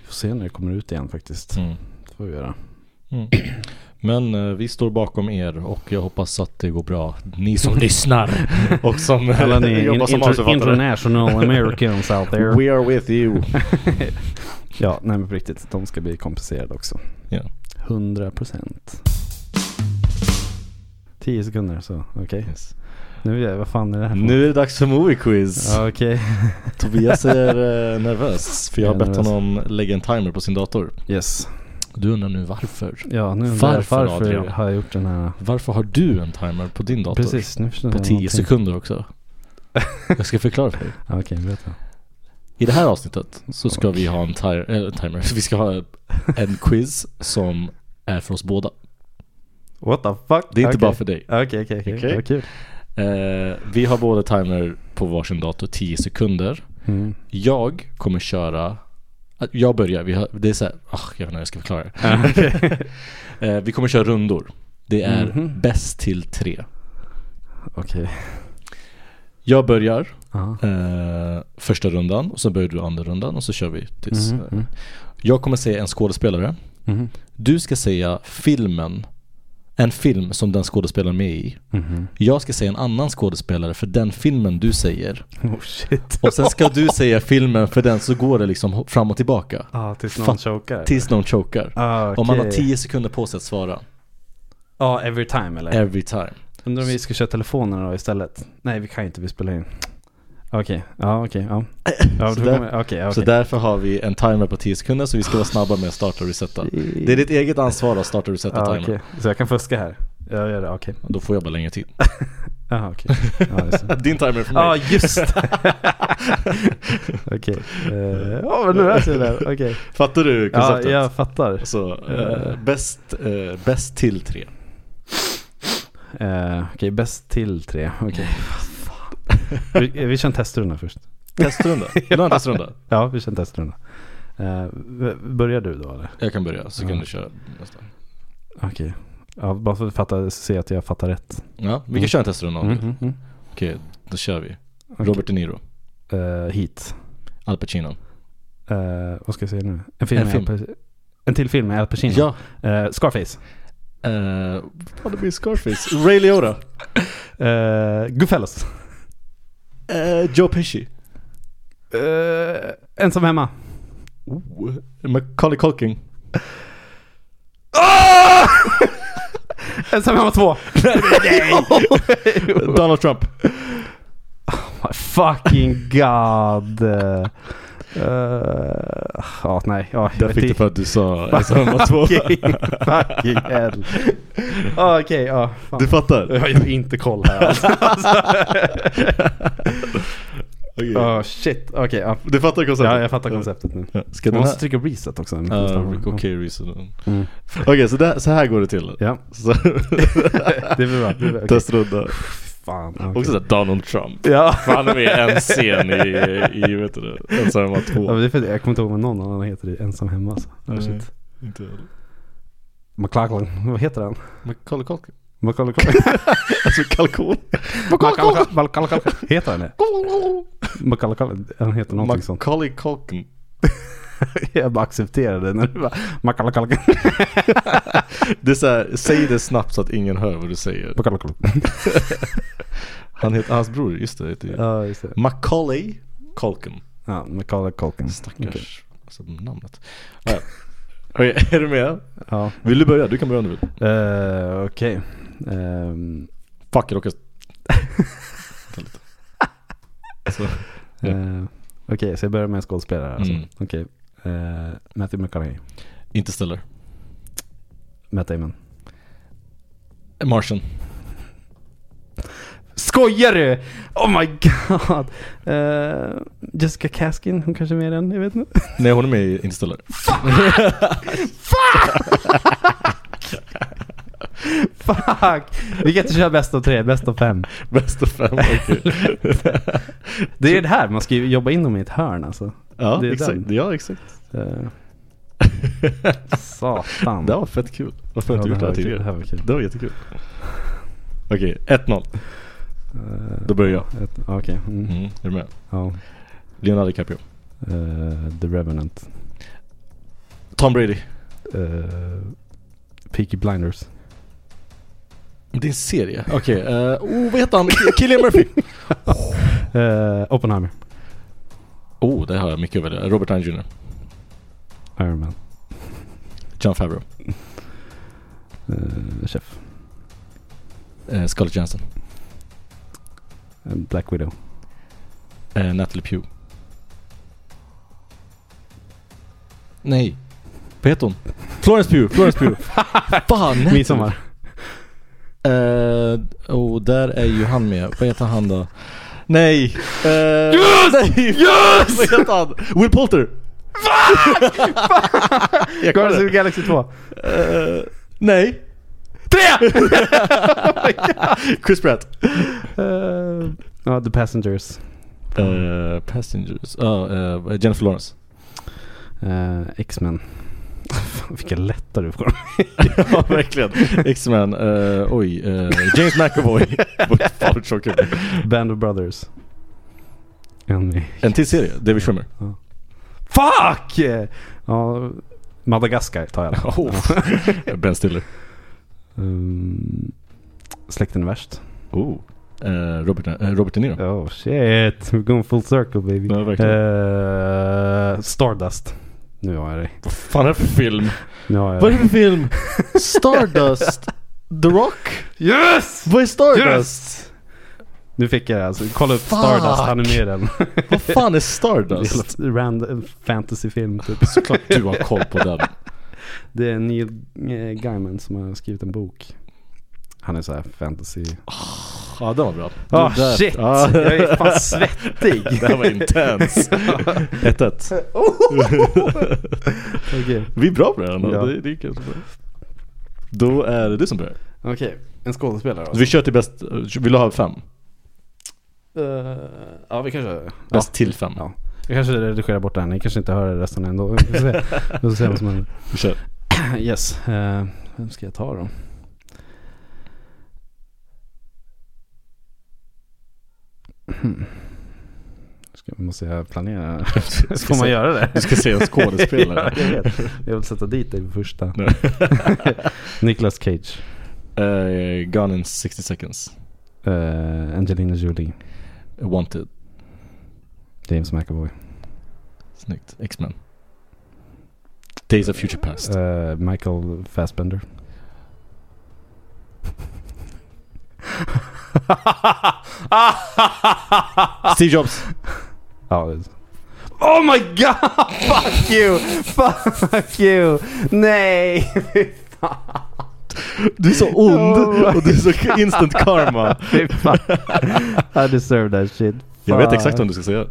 Speaker 3: vi får se när det kommer ut igen faktiskt.
Speaker 2: Mm.
Speaker 3: Det får vi göra.
Speaker 2: Mm. Men eh, vi står bakom er och jag hoppas att det går bra. Ni som lyssnar och som
Speaker 3: Alla ni in,
Speaker 2: jobbar som
Speaker 3: inter,
Speaker 2: manusförfattare.
Speaker 3: international americans out there.
Speaker 2: We are with you.
Speaker 3: Ja, nej men på riktigt. De ska bli kompenserade också.
Speaker 2: Ja.
Speaker 3: 100 procent. 10 sekunder så, okej.
Speaker 2: Yes.
Speaker 3: Nu är jag, vad fan är det här för-
Speaker 2: Nu är det dags för movie quiz.
Speaker 3: Ja, okej.
Speaker 2: Tobias är eh, nervös för jag har
Speaker 3: Jag är
Speaker 2: bett
Speaker 3: nervös.
Speaker 2: honom lägga en timer på sin dator.
Speaker 3: Yes.
Speaker 2: Du undrar nu varför?
Speaker 3: Ja, nu undrar jag,
Speaker 2: Varför,
Speaker 3: varför
Speaker 2: Adrian?
Speaker 3: har jag gjort den här?
Speaker 2: Varför har du en timer på din dator?
Speaker 3: Precis, nu förstår
Speaker 2: På
Speaker 3: jag
Speaker 2: 10
Speaker 3: någonting.
Speaker 2: sekunder också. Jag ska förklara för dig.
Speaker 3: Ja, Okej, berätta.
Speaker 2: I det här avsnittet så ska vi ha en ti- eh, timer. Vi ska ha en quiz som är för oss båda.
Speaker 3: What the fuck?
Speaker 2: Det är inte bara för dig.
Speaker 3: Ah, Okej, okej, okej.
Speaker 2: Okej.
Speaker 3: Vad kul.
Speaker 2: Eh, vi har båda timer på varsin dator, 10 sekunder.
Speaker 3: Mm.
Speaker 2: Jag kommer köra... eh, Jag börjar, vi har, det är så här, ah, jag vet inte hur jag ska förklara det. Eh, vi kommer köra rundor. Det är
Speaker 3: Mhm.
Speaker 2: bäst till tre.
Speaker 3: Okej.
Speaker 2: Jag börjar
Speaker 3: Ja.
Speaker 2: eh, första rundan och så börjar du andra rundan och så kör vi tills...
Speaker 3: Mhm,
Speaker 2: eh,
Speaker 3: mm.
Speaker 2: Jag kommer säga en skådespelare.
Speaker 3: Mhm.
Speaker 2: Du ska säga filmen, en film som den skådespelaren är med i.
Speaker 3: Mhm.
Speaker 2: Jag ska säga en annan skådespelare för den filmen du säger.
Speaker 3: Oh shit.
Speaker 2: Och sen ska du säga filmen för den så går det liksom fram och tillbaka.
Speaker 3: Ja, Ah, tills
Speaker 2: Fan.
Speaker 3: någon chokar.
Speaker 2: Tills någon chokar.
Speaker 3: Ah, okej.
Speaker 2: Och man har 10 sekunder på sig att svara.
Speaker 3: Ja, every time eller?
Speaker 2: Every time.
Speaker 3: Undrar om vi ska köra telefonerna då istället? Nej, vi kan ju inte, vi spelar in. Okej, ja okej, ja. Ja,
Speaker 2: Så
Speaker 3: då
Speaker 2: där-
Speaker 3: kommer- Okej,
Speaker 2: Så
Speaker 3: okej.
Speaker 2: därför har vi en timer på 10 sekunder så vi ska vara snabba med att starta och resetta. Det är ditt eget ansvar att starta och resetta
Speaker 3: Ja,
Speaker 2: timern.
Speaker 3: Ah, okej. Så jag kan fuska här? Jag gör det, okej.
Speaker 2: Då får jag bara längre tid.
Speaker 3: Jaha, okej. Ja, just det.
Speaker 2: Din timer är för mig.
Speaker 3: Ja, just det. Okej. Eh, Ja, men nu är jag där. Okej.
Speaker 2: Fattar du
Speaker 3: Ja,
Speaker 2: konceptet?
Speaker 3: jag fattar.
Speaker 2: Så, eh, bäst, eh, bäst till tre.
Speaker 3: Eh, Okej, bäst till tre. Okej. Vi, vi kör en testrunda först.
Speaker 2: Testrunda. Vill du ha en testrunda?
Speaker 3: Ja, vi kör en testrunda. Eh, v- börjar du då eller?
Speaker 2: Jag kan börja så kan
Speaker 3: Ja.
Speaker 2: du köra nästa.
Speaker 3: Okej. Ja, bara för att fatta, se att jag fattar rätt.
Speaker 2: Ja, vi kan
Speaker 3: Mm.
Speaker 2: köra en testrunda om du vill.
Speaker 3: Mm, mm,
Speaker 2: Okej, då kör vi.
Speaker 3: Okej.
Speaker 2: Robert De Niro,
Speaker 3: mm. Eh, hit.
Speaker 2: Al Pacino.
Speaker 3: Eh, vad ska jag säga nu? En film.
Speaker 2: En
Speaker 3: med
Speaker 2: film.
Speaker 3: Al Pac- en till film med Al Pacino.
Speaker 2: Ja.
Speaker 3: Eh, Scarface.
Speaker 2: Uh, det blir Scarface. Ray Liotta.
Speaker 3: Eh, Goodfellas.
Speaker 2: Eh, Joe Pesci.
Speaker 3: Eh, ensam hemma.
Speaker 2: Oh, Macaulay Culkin.
Speaker 3: Ensam hemma två.
Speaker 2: Donald Trump.
Speaker 3: My fucking god. Eh, eh, Ja, nej. Ja, jag
Speaker 2: Där
Speaker 3: vet
Speaker 2: fick du
Speaker 3: inte.
Speaker 2: för att du sa ensam hemma två.
Speaker 3: Fucking, fucking hell. Ja, Ah, Okej, ja. fan.
Speaker 2: Du fattar?
Speaker 3: Jag har inte koll här alltså.
Speaker 2: Okej.
Speaker 3: Ja, Ah, shit. Okej, ja.
Speaker 2: Du fattar konceptet?
Speaker 3: ja. Jag fattar konceptet nu.
Speaker 2: Ja. Ska
Speaker 3: Man
Speaker 2: den
Speaker 3: måste
Speaker 2: här...
Speaker 3: trycka reset också.
Speaker 2: Ja, Okej, reason.
Speaker 3: Mm.
Speaker 2: Okej, så, där- så här går det till.
Speaker 3: Ja,
Speaker 2: Så,
Speaker 3: det blir bra. Det blir bra. Okej.
Speaker 2: testrunda.
Speaker 3: Fan. okej.
Speaker 2: Också såhär Donald Trump.
Speaker 3: Ja.
Speaker 2: Han är med i en scen i, i vet du det, Ensam hemma
Speaker 3: ja men
Speaker 2: två.
Speaker 3: det är för, att jag kommer inte ihåg vad någon annan heter i Ensam Hemma. Alltså. Ja,
Speaker 2: Nej.
Speaker 3: shit.
Speaker 2: Inte jag.
Speaker 3: McLachlan. Vad heter han?
Speaker 2: Macaulay Culkin.
Speaker 3: McCall-
Speaker 2: Alltså kalkon.
Speaker 3: Heter han det? McCall- Han heter någonting sånt.
Speaker 2: Macaulay Culkin.
Speaker 3: Jag bara accepterade det när du bara McCall-
Speaker 2: Det är så här, säg det snabbt så att ingen hör vad du säger.
Speaker 3: McCall-
Speaker 2: Han heter, hans bror, just det. Heter ju.
Speaker 3: Ja, just det.
Speaker 2: Macaulay Culkin.
Speaker 3: Ja, McCall Culkin.
Speaker 2: Stackars.
Speaker 3: Okej.
Speaker 2: Alltså namnet. Ah, ja. Okej, är du med?
Speaker 3: Ja.
Speaker 2: Vill du börja? Du kan börja om du vill.
Speaker 3: Eh, Okej. Ehm,
Speaker 2: Fuck, jag råkade... Vänta lite. Alltså, Så. Ja.
Speaker 3: eh, Okej, så jag börjar med en skådespelare alltså.
Speaker 2: Mm.
Speaker 3: Okej. Eh, Matthew McConaughey.
Speaker 2: Inte ställer.
Speaker 3: Matt Damon.
Speaker 2: Martian.
Speaker 3: Skojar du? Oh my god. Eh, Jessica Caskin, hon kanske är med i den, jag vet inte.
Speaker 2: Nej, hon är med i Inte ställer.
Speaker 3: Fuck! Vi kan inte köra bäst av tre, bäst av fem.
Speaker 2: Bästa fem, okej.
Speaker 3: Det är ju det här, man ska ju jobba in dem i ett hörn alltså.
Speaker 2: Ja,
Speaker 3: Det är
Speaker 2: exakt.
Speaker 3: den.
Speaker 2: Ja, exakt.
Speaker 3: Eh, satan.
Speaker 2: Det var fett kul. Varför har
Speaker 3: Ja,
Speaker 2: jag inte gjort det
Speaker 3: här
Speaker 2: här
Speaker 3: var kul, Det här
Speaker 2: tidigare?
Speaker 3: var kul.
Speaker 2: Det var jättekul. Okej, 1-0.
Speaker 3: Eh,
Speaker 2: Då börjar jag.
Speaker 3: ett- Okej. Mm.
Speaker 2: Mm, är du med?
Speaker 3: Ja.
Speaker 2: Leonardo DiCaprio.
Speaker 3: Eh, The Revenant.
Speaker 2: Tom Brady.
Speaker 3: Uh, Peaky Blinders.
Speaker 2: Det är en serie. Okej, eh, oh, vad heter han? Killian Murphy.
Speaker 3: Eh, Oppenheimer.
Speaker 2: Oh, det har jag mycket över det. Robert Downey Jr.
Speaker 3: Iron Man.
Speaker 2: John Favreau.
Speaker 3: Eh, chef.
Speaker 2: Eh, Scarlett Johansson.
Speaker 3: Eh, Black Widow.
Speaker 2: Eh, Natalie Pugh. Nej. Vad heter hon? Florence Pugh, Florence Pugh. Fan! nej.
Speaker 3: Midsommar.
Speaker 2: Eh, och där är ju han med. Vad heter han då? Nej! Eh, nej. Yes! Vad heter han? Will Poulter! Jag
Speaker 3: Guardians of
Speaker 2: kollar.
Speaker 3: the Galaxy 2.
Speaker 2: Eh, nej. Tre! Chris Pratt.
Speaker 3: Eh, Ja, The Passengers.
Speaker 2: Eh, passengers. Ja, eh, Jennifer Lawrence.
Speaker 3: Eh, X-Men. Fan, vilka lätta du får.
Speaker 2: ja, verkligen. X-Men. eh, oj. eh, James McAvoy. Fan, så kul.
Speaker 3: Band of Brothers. And me.
Speaker 2: En till serie. David Schwimmer.
Speaker 3: Fuck! Ja, Madagaskar tar jag.
Speaker 2: Oh. ben Stiller.
Speaker 3: Um, släkten är värst.
Speaker 2: Oh. Eh, Robert, eh, Robert De Niro.
Speaker 3: Oh shit, we're going full circle baby.
Speaker 2: Ja, verkligen.
Speaker 3: Eh, Stardust. Nu har jag dig.
Speaker 2: Vad fan är det för film?
Speaker 3: Nu har jag
Speaker 2: Vad är
Speaker 3: dig.
Speaker 2: det för film? Stardust? The Rock?
Speaker 3: Yes!
Speaker 2: Vad är Stardust?
Speaker 3: Yes! Nu fick jag det alltså. Kolla upp
Speaker 2: Fuck!
Speaker 3: Stardust, han är med i den.
Speaker 2: Vad fan är Stardust?
Speaker 3: Jävla Random fantasyfilm typ.
Speaker 2: Såklart du har koll på den.
Speaker 3: Det är Neil eh, Gaiman som har skrivit en bok. Han är så här fantasy...
Speaker 2: Ja, den var bra.
Speaker 3: Ah
Speaker 2: Den där-
Speaker 3: shit!
Speaker 2: Ja.
Speaker 3: Jag är fan svettig.
Speaker 2: Det här var intens. 1-1.
Speaker 3: Okej,
Speaker 2: Vi är bra på det här ändå.
Speaker 3: Ja.
Speaker 2: Det, det är kul. Då är det du som börjar.
Speaker 3: Okej, en skådespelare då.
Speaker 2: Vi kör till bäst, vill du ha fem?
Speaker 3: Eh, ja vi kanske...
Speaker 2: Bäst till fem.
Speaker 3: Ja. Jag kanske redigerar bort det här, ni kanske inte hör det resten ändå. Vi får se, vi får se vad som händer.
Speaker 2: Vi kör.
Speaker 3: Yes, eh, vem ska jag ta då? Hmm. Ska, måste jag planera? Får man göra det?
Speaker 2: Du ska se en skådespelare.
Speaker 3: ja, jag vet. Jag vill sätta dit dig på första.
Speaker 2: Nej.
Speaker 3: Nicolas Cage.
Speaker 2: Eh, gone in 60 seconds.
Speaker 3: Eh, Angelina Jolie.
Speaker 2: Wanted.
Speaker 3: James McAvoy.
Speaker 2: Snyggt. X-Men. Days of Future Past.
Speaker 3: Eh, Michael Fassbender. Eh.
Speaker 2: Steve Jobs.
Speaker 3: Ja, det är så. Oh my god! Fuck you! Fuck you! Nej!
Speaker 2: Du är så ond och du är så instant karma.
Speaker 3: Fy fan. I deserve that shit.
Speaker 2: Jag vet
Speaker 3: Fan.
Speaker 2: exakt vad du ska säga.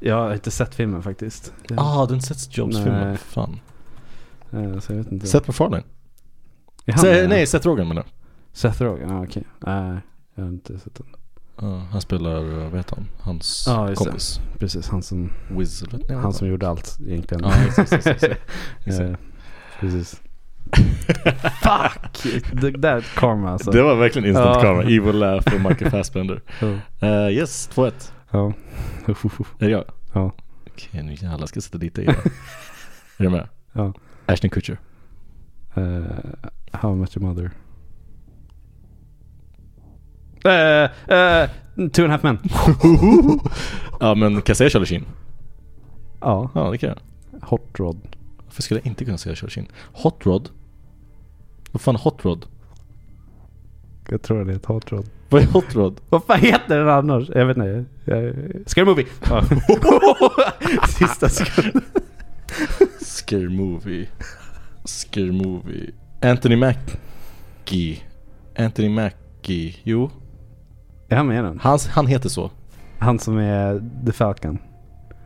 Speaker 3: Jag har inte sett filmen faktiskt. Det-
Speaker 2: Ah, du har inte sett Jobs-filmen?
Speaker 3: Nej.
Speaker 2: Fan.
Speaker 3: Eh, Så jag vet inte.
Speaker 2: Seth MacFarlane?
Speaker 3: Är han
Speaker 2: Se,
Speaker 3: med?
Speaker 2: nej, Seth Rogen menar
Speaker 3: Seth Rogen, ja okej. Nej, jag har inte sett den.
Speaker 2: jag. Ja, Han spelar, eh, vad heter han? Hans
Speaker 3: Ja, just det.
Speaker 2: kompis.
Speaker 3: Precis, han som,
Speaker 2: Wiz, eller- nej,
Speaker 3: han
Speaker 2: vad
Speaker 3: som gjorde allt egentligen.
Speaker 2: Ja, just det, just det, just det. heter han?
Speaker 3: Eh, Precis. Fuck! Det där är ett karma alltså.
Speaker 2: Det var verkligen instant
Speaker 3: Ja.
Speaker 2: karma. Evil laugh och Michael Fassbender. Eh, yes, 2-1.
Speaker 3: Ja.
Speaker 2: Är det jag?
Speaker 3: Ja.
Speaker 2: Okej, nu jävlar ska jag sätta dit dig. igen. är du med?
Speaker 3: Ja.
Speaker 2: Ashton Kutcher.
Speaker 3: Eh, how I Met Your Mother. Uh, uh, two and a half men.
Speaker 2: Ja, men kan jag säga Charlie Sheen?
Speaker 3: ja,
Speaker 2: Ja, det kan jag.
Speaker 3: Hot Rod.
Speaker 2: Varför skulle jag inte kunna säga Charlie Sheen? Hot Rod? Vad fan är Hot Rod?
Speaker 3: Jag tror det är ett Hot Rod.
Speaker 2: Vad är Hot Rod?
Speaker 3: Vad fan heter den annars? Jag vet inte. Jag- Scary Movie! Ja. Sista sekunden.
Speaker 2: Scare Movie. Scare Movie. Anthony Mackie. Anthony Mackie. Jo,
Speaker 3: Är han med i den?
Speaker 2: han, han heter så.
Speaker 3: Han som är The Falcon.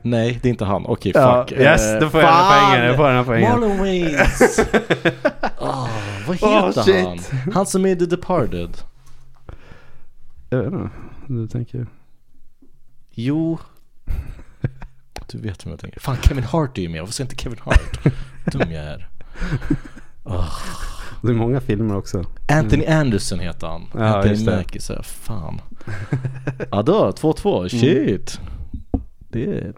Speaker 2: Nej, det är inte han. Okej, fuck.
Speaker 3: yes,
Speaker 2: Eh,
Speaker 3: då får jag den här
Speaker 2: fan!
Speaker 3: poängen. Jag får den här poängen.
Speaker 2: Marlon Wayans. Ah, vad
Speaker 3: Oh,
Speaker 2: heter
Speaker 3: shit.
Speaker 2: han? Han som är i The Departed.
Speaker 3: Jag vet inte. Du tänker...
Speaker 2: Jo. Du vet vem jag tänker. Fan, Kevin Hart är ju med. Varför säger jag inte Kevin Hart? Dum jag är.
Speaker 3: Det är många filmer också.
Speaker 2: Anthony Anderson heter han.
Speaker 3: Ja,
Speaker 2: Anthony
Speaker 3: just det.
Speaker 2: Mackie säger jag. Fan. Ja då, 2-2. Shit. Det är...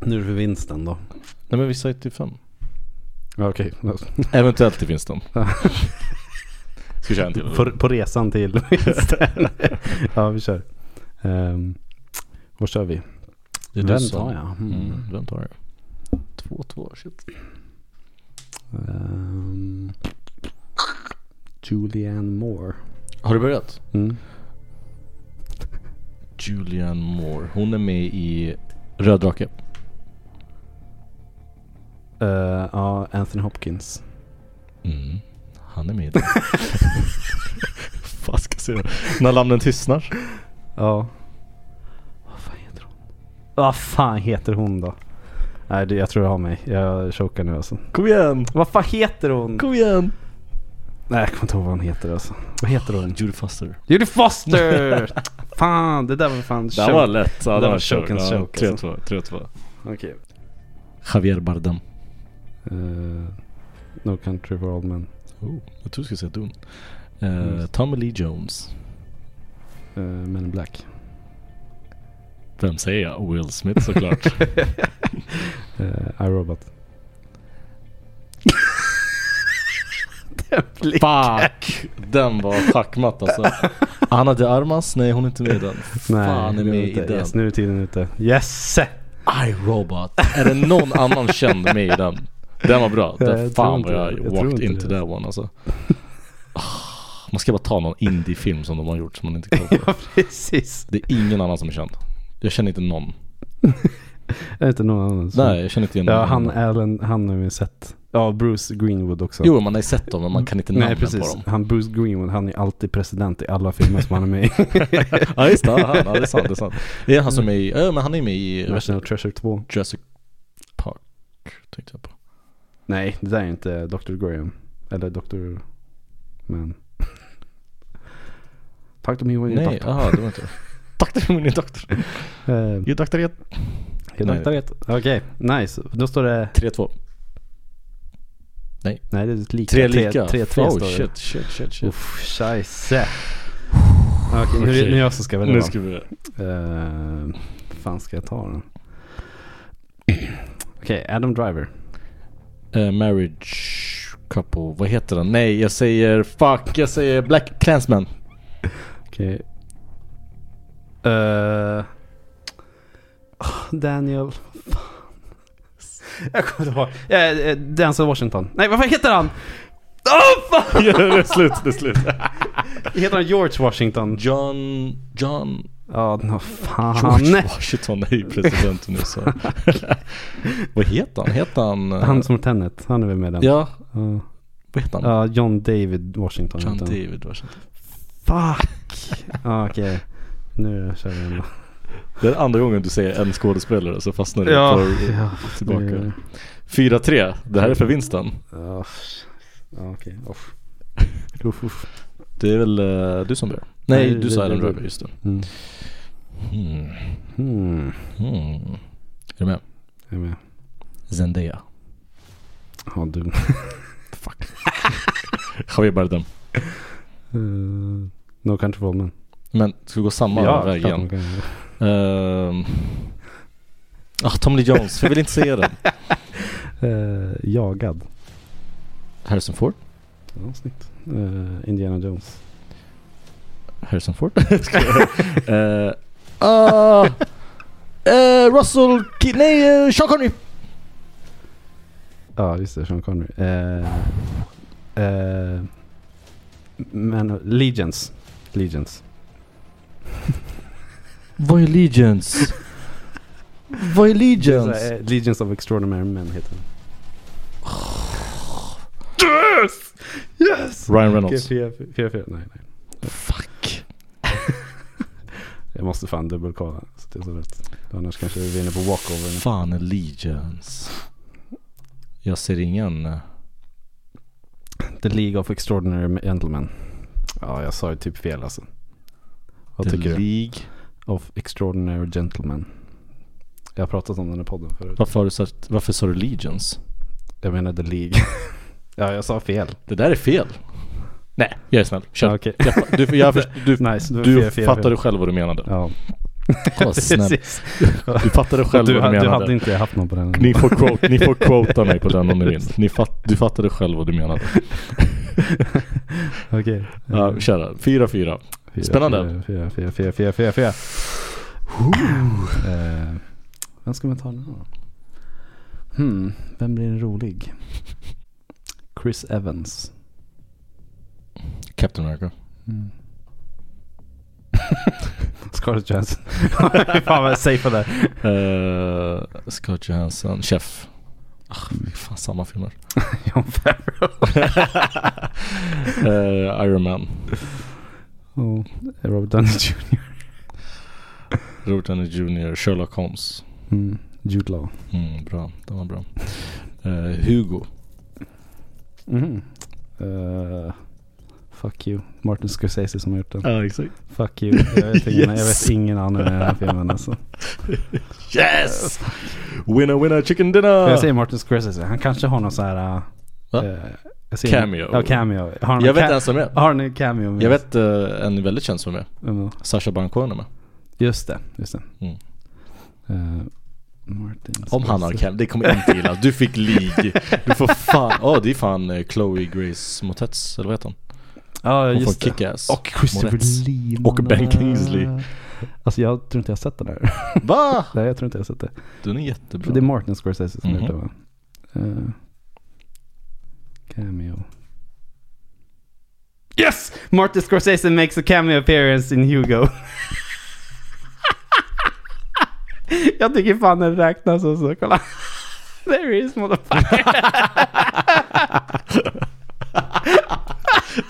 Speaker 3: Nu är det för vinsten då.
Speaker 2: Nej men vi sa ju till fem.
Speaker 3: Ja, Okej.
Speaker 2: Eventuellt till vinsten. Ska vi köra en till?
Speaker 3: På, på resan till vinsten. ja, vi kör. Um, vad kör vi?
Speaker 2: Det är du
Speaker 3: Vem
Speaker 2: som-
Speaker 3: tar jag? Hmm.
Speaker 2: Mm, vem tar jag? 2-2, shit.
Speaker 3: Ehm, Julianne Moore.
Speaker 2: Har du börjat?
Speaker 3: Mm.
Speaker 2: Julianne Moore. Hon är med i Röd drake.
Speaker 3: Eh, Ja, Anthony Hopkins.
Speaker 2: Mm, han är med i den. Fan ska jag säga När lamnen tystnar.
Speaker 3: Ja. Vad fan heter hon? Vad fan heter hon då? Nej, det, jag tror jag har mig. Jag chokar nu alltså.
Speaker 2: Kom igen!
Speaker 3: Vad fan heter hon?
Speaker 2: Kom igen!
Speaker 3: Nej, jag kommer inte ihåg vad hon heter alltså. Vad heter hon?
Speaker 2: Judy Foster.
Speaker 3: Judy Foster! fan, det där var fan
Speaker 2: Det här
Speaker 3: choke.
Speaker 2: var lätt. Ja,
Speaker 3: det
Speaker 2: det
Speaker 3: var
Speaker 2: var
Speaker 3: choke and choke, alltså.
Speaker 2: choke. 3-2. 3-2.
Speaker 3: Okej.
Speaker 2: Javier Bardem.
Speaker 3: Eh, no country for old men.
Speaker 2: Oh, jag tror du skulle säga Dun.
Speaker 3: Mm.
Speaker 2: Uh, Tommy Lee Jones.
Speaker 3: Eh, men in black.
Speaker 2: Vem säger jag? Will Smith såklart.
Speaker 3: Uh, I Robot. Den blicken.
Speaker 2: Fuck! Den var schackmatt alltså. Anna de Armas? Nej hon är inte med i den. Fan är
Speaker 3: det
Speaker 2: med i
Speaker 3: inte.
Speaker 2: den.
Speaker 3: Yes, nu är tiden ute. Yes!
Speaker 2: I Robot. Är det någon annan känd med i den? Den var bra.
Speaker 3: Ja,
Speaker 2: Det
Speaker 3: jag tror
Speaker 2: fan
Speaker 3: inte
Speaker 2: vad
Speaker 3: det.
Speaker 2: jag,
Speaker 3: Jag tror
Speaker 2: walked
Speaker 3: inte
Speaker 2: into
Speaker 3: det.
Speaker 2: that one alltså. Ah, Man ska bara ta någon indie-film som de har gjort som man inte kollar på.
Speaker 3: ja, precis.
Speaker 2: Det är ingen annan som är känd. Jag känner inte någon.
Speaker 3: Är det inte någon annan? som-
Speaker 2: Nej jag känner inte igen någon.
Speaker 3: Ja, han
Speaker 2: annan.
Speaker 3: Alan, han har vi sett. Ja, Bruce Greenwood också.
Speaker 2: Jo man har ju sett dem men man kan inte namnen
Speaker 3: Nej,
Speaker 2: på
Speaker 3: precis.
Speaker 2: dem.
Speaker 3: Han Bruce Greenwood, han är alltid president i alla filmer som han är med i.
Speaker 2: Ja just det, han, ja, det är sant. Det är sant. Det är han som är i, ja men han är med i
Speaker 3: National Treasure 2.
Speaker 2: Jurassic Park. Tänkte jag på.
Speaker 3: Nej, det där är inte Dr. Graham. Eller Dr. Man. Tack to me when you
Speaker 2: Nej,
Speaker 3: talk.
Speaker 2: jaha det var inte det. Doktor, hon är doktor.
Speaker 3: Eh,
Speaker 2: Ju doktor är
Speaker 3: jag
Speaker 2: nej.
Speaker 3: doktor vet. Okej, nice. Då står det...
Speaker 2: 3-2.
Speaker 3: Nej, det är lika.
Speaker 2: Tre lika?
Speaker 3: 3-3
Speaker 2: oh,
Speaker 3: står det.
Speaker 2: shit, shit, shit, shit.
Speaker 3: Uff, scheisse. Okej, nu, är det- nu är det jag som ska välja
Speaker 2: nu
Speaker 3: då.
Speaker 2: ska vi...
Speaker 3: Eh, fan ska jag ta den? Okej, Adam Driver.
Speaker 2: Eh, marriage couple, vad heter den? Nej, jag säger fuck, jag säger Black Clansman.
Speaker 3: Okej. Eh, ah, Daniel. Fan. Jag kommer inte ihåg. Eh, eh, Denzel Washington. Nej, vad fan heter han? Åh fan!
Speaker 2: Ja, det är slut, det är slut.
Speaker 3: Heter han George Washington?
Speaker 2: John... John...
Speaker 3: Ja, nå fan.
Speaker 2: George
Speaker 3: Han,
Speaker 2: Washington är ju president nu så. vad heter han? Heter han... eh,
Speaker 3: han som är Tenet. Han är väl med i den?
Speaker 2: Ja,
Speaker 3: Ja.
Speaker 2: vad heter han?
Speaker 3: Ja, John David Washington.
Speaker 2: John
Speaker 3: heter han.
Speaker 2: David Washington.
Speaker 3: Fuck! Ja, Okej. Nu kör vi igen
Speaker 2: Det är andra gången du säger en skådespelare så fastnar du på...
Speaker 3: ja.
Speaker 2: Tillbaka. 4-3, det här är för vinsten.
Speaker 3: Ja, ja, okej. Uff. Uff, uff.
Speaker 2: Det är väl eh, du som börjar?
Speaker 3: Nej,
Speaker 2: Nej, du
Speaker 3: det-
Speaker 2: sa
Speaker 3: det-
Speaker 2: Adam
Speaker 3: det-
Speaker 2: Driver, just det.
Speaker 3: Mm.
Speaker 2: Hmm.
Speaker 3: Hmm.
Speaker 2: Hmm. Är du med?
Speaker 3: Jag är med.
Speaker 2: Zendaya.
Speaker 3: Ja, du.
Speaker 2: Fuck. Javier Bardem.
Speaker 3: Eh, no country for Old men.
Speaker 2: Men ska vi gå samma väg
Speaker 3: klart
Speaker 2: igen?
Speaker 3: man kan göra det.
Speaker 2: Ehm. Ah, Tom Lee Jones, jag vill inte säga den.
Speaker 3: Eh, jagad.
Speaker 2: Harrison Ford.
Speaker 3: Ja, snyggt. Eh, Indiana Jones.
Speaker 2: Harrison Ford. Ska jag- Eh, ah, eh, Russell... Ki- nej, eh, Sean Connery.
Speaker 3: Ja, just det. Sean Connery. Eh, eh, men, Legions. Legions.
Speaker 2: Vad är Legions? Vad är Legions?
Speaker 3: Eh, Legions of Extraordinary Men heter den. Yes! Yes!
Speaker 2: Ryan Reynolds.
Speaker 3: Fyra, fyra, fyra, fyra. Nej, nej.
Speaker 2: Fuck.
Speaker 3: Jag måste fan dubbelkolla så det är så rätt. Annars kanske vi vinner på walkover.
Speaker 2: Fan Allegiance. Jag ser ingen... eh,
Speaker 3: The League of Extraordinary Gentlemen. Ja, jag sa ju typ fel alltså. Vad
Speaker 2: The
Speaker 3: tycker du?
Speaker 2: League.
Speaker 3: Of Extraordinary Gentlemen. Jag har pratat om den här podden förut.
Speaker 2: Varför, har du sagt, varför sa du Legions?
Speaker 3: Jag menar The League. ja, jag sa fel.
Speaker 2: Det där är fel. Nej, jag är snäll. Kör.
Speaker 3: Ja, Okej.
Speaker 2: Jag, du jag, först- du,
Speaker 3: Nice.
Speaker 2: du
Speaker 3: fel, fel,
Speaker 2: fattade
Speaker 3: fel.
Speaker 2: själv vad du menade.
Speaker 3: Ja,
Speaker 2: Åh, snäll.
Speaker 3: precis.
Speaker 2: Du fattade själv
Speaker 3: du,
Speaker 2: vad
Speaker 3: ha-
Speaker 2: du
Speaker 3: du
Speaker 2: menade.
Speaker 3: hade inte haft någon på den.
Speaker 2: Ni får, quote, ni får quota mig på den om ni vill. Ni fatt, du fattade själv vad du menade.
Speaker 3: Okej.
Speaker 2: Ja,
Speaker 3: Eh,
Speaker 2: kör då. 4-4.
Speaker 3: fyra,
Speaker 2: spännande.
Speaker 3: Fyra, fyra, fyra, fyra, fyra, fyra. Eh, vem ska man ta nu då? Hmm, vem blir rolig? Chris Evans. Hmm.
Speaker 2: Captain America.
Speaker 3: Scarlett Johansson. Fan vad jag säger på det.
Speaker 2: Uh, Scott Johansson. Eh, Chef. Fan, samma filmer.
Speaker 3: John Favreau.
Speaker 2: Eh, Iron Man. Oh.
Speaker 3: Och Robert Downey Jr.
Speaker 2: Robert Downey Jr. Sherlock Holmes.
Speaker 3: Mm. Jude Law.
Speaker 2: Mm, bra, den var bra. Eh, Hugo. Mm.
Speaker 3: Mhm. Eh, fuck you. Martin Scorsese som har gjort den.
Speaker 2: Ja, exakt.
Speaker 3: Fuck you. Jag vet, ingen, jag
Speaker 2: Yes.
Speaker 3: vet ingen annan i den här filmen alltså.
Speaker 2: Yes! Winner, winner, chicken dinner!
Speaker 3: För jag säger Martin Scorsese, han kanske har någon så här...
Speaker 2: Ah. Va?
Speaker 3: eh, jag ser-
Speaker 2: Cameo.
Speaker 3: Ja, cameo. Har
Speaker 2: Jag
Speaker 3: han
Speaker 2: vet
Speaker 3: någon ca-
Speaker 2: inte ens vem det är.
Speaker 3: Har han en cameo? med-
Speaker 2: Jag vet eh, en väldigt känd som är med.
Speaker 3: Vem då?
Speaker 2: Sasha Baron Cohen är med.
Speaker 3: Just det, just det.
Speaker 2: Mm.
Speaker 3: Eh, Martin
Speaker 2: Om han har
Speaker 3: Scorsese.
Speaker 2: Cam, det kommer inte gillas. Du fick lig. Du får fan, åh det är fan eh, Chloe Grace Moretz, eller vad heter hon?
Speaker 3: Ja,
Speaker 2: Hon
Speaker 3: just
Speaker 2: får
Speaker 3: det.
Speaker 2: Kick-Ass.
Speaker 3: Och Christopher
Speaker 2: Moretz.
Speaker 3: Lee.
Speaker 2: Och Ben
Speaker 3: mannen.
Speaker 2: Kingsley.
Speaker 3: Alltså jag tror inte jag har sett den där.
Speaker 2: Va?
Speaker 3: Nej, jag tror inte jag har sett det.
Speaker 2: Den är
Speaker 3: För det är
Speaker 2: jättebra.
Speaker 3: Martin Scorsese
Speaker 2: Mhm.
Speaker 3: som har gjort det va? Eh, cameo. Yes! Martin Scorsese makes a cameo appearance in Hugo. jag tycker fan den räknas också. Kolla. There is motherfucker.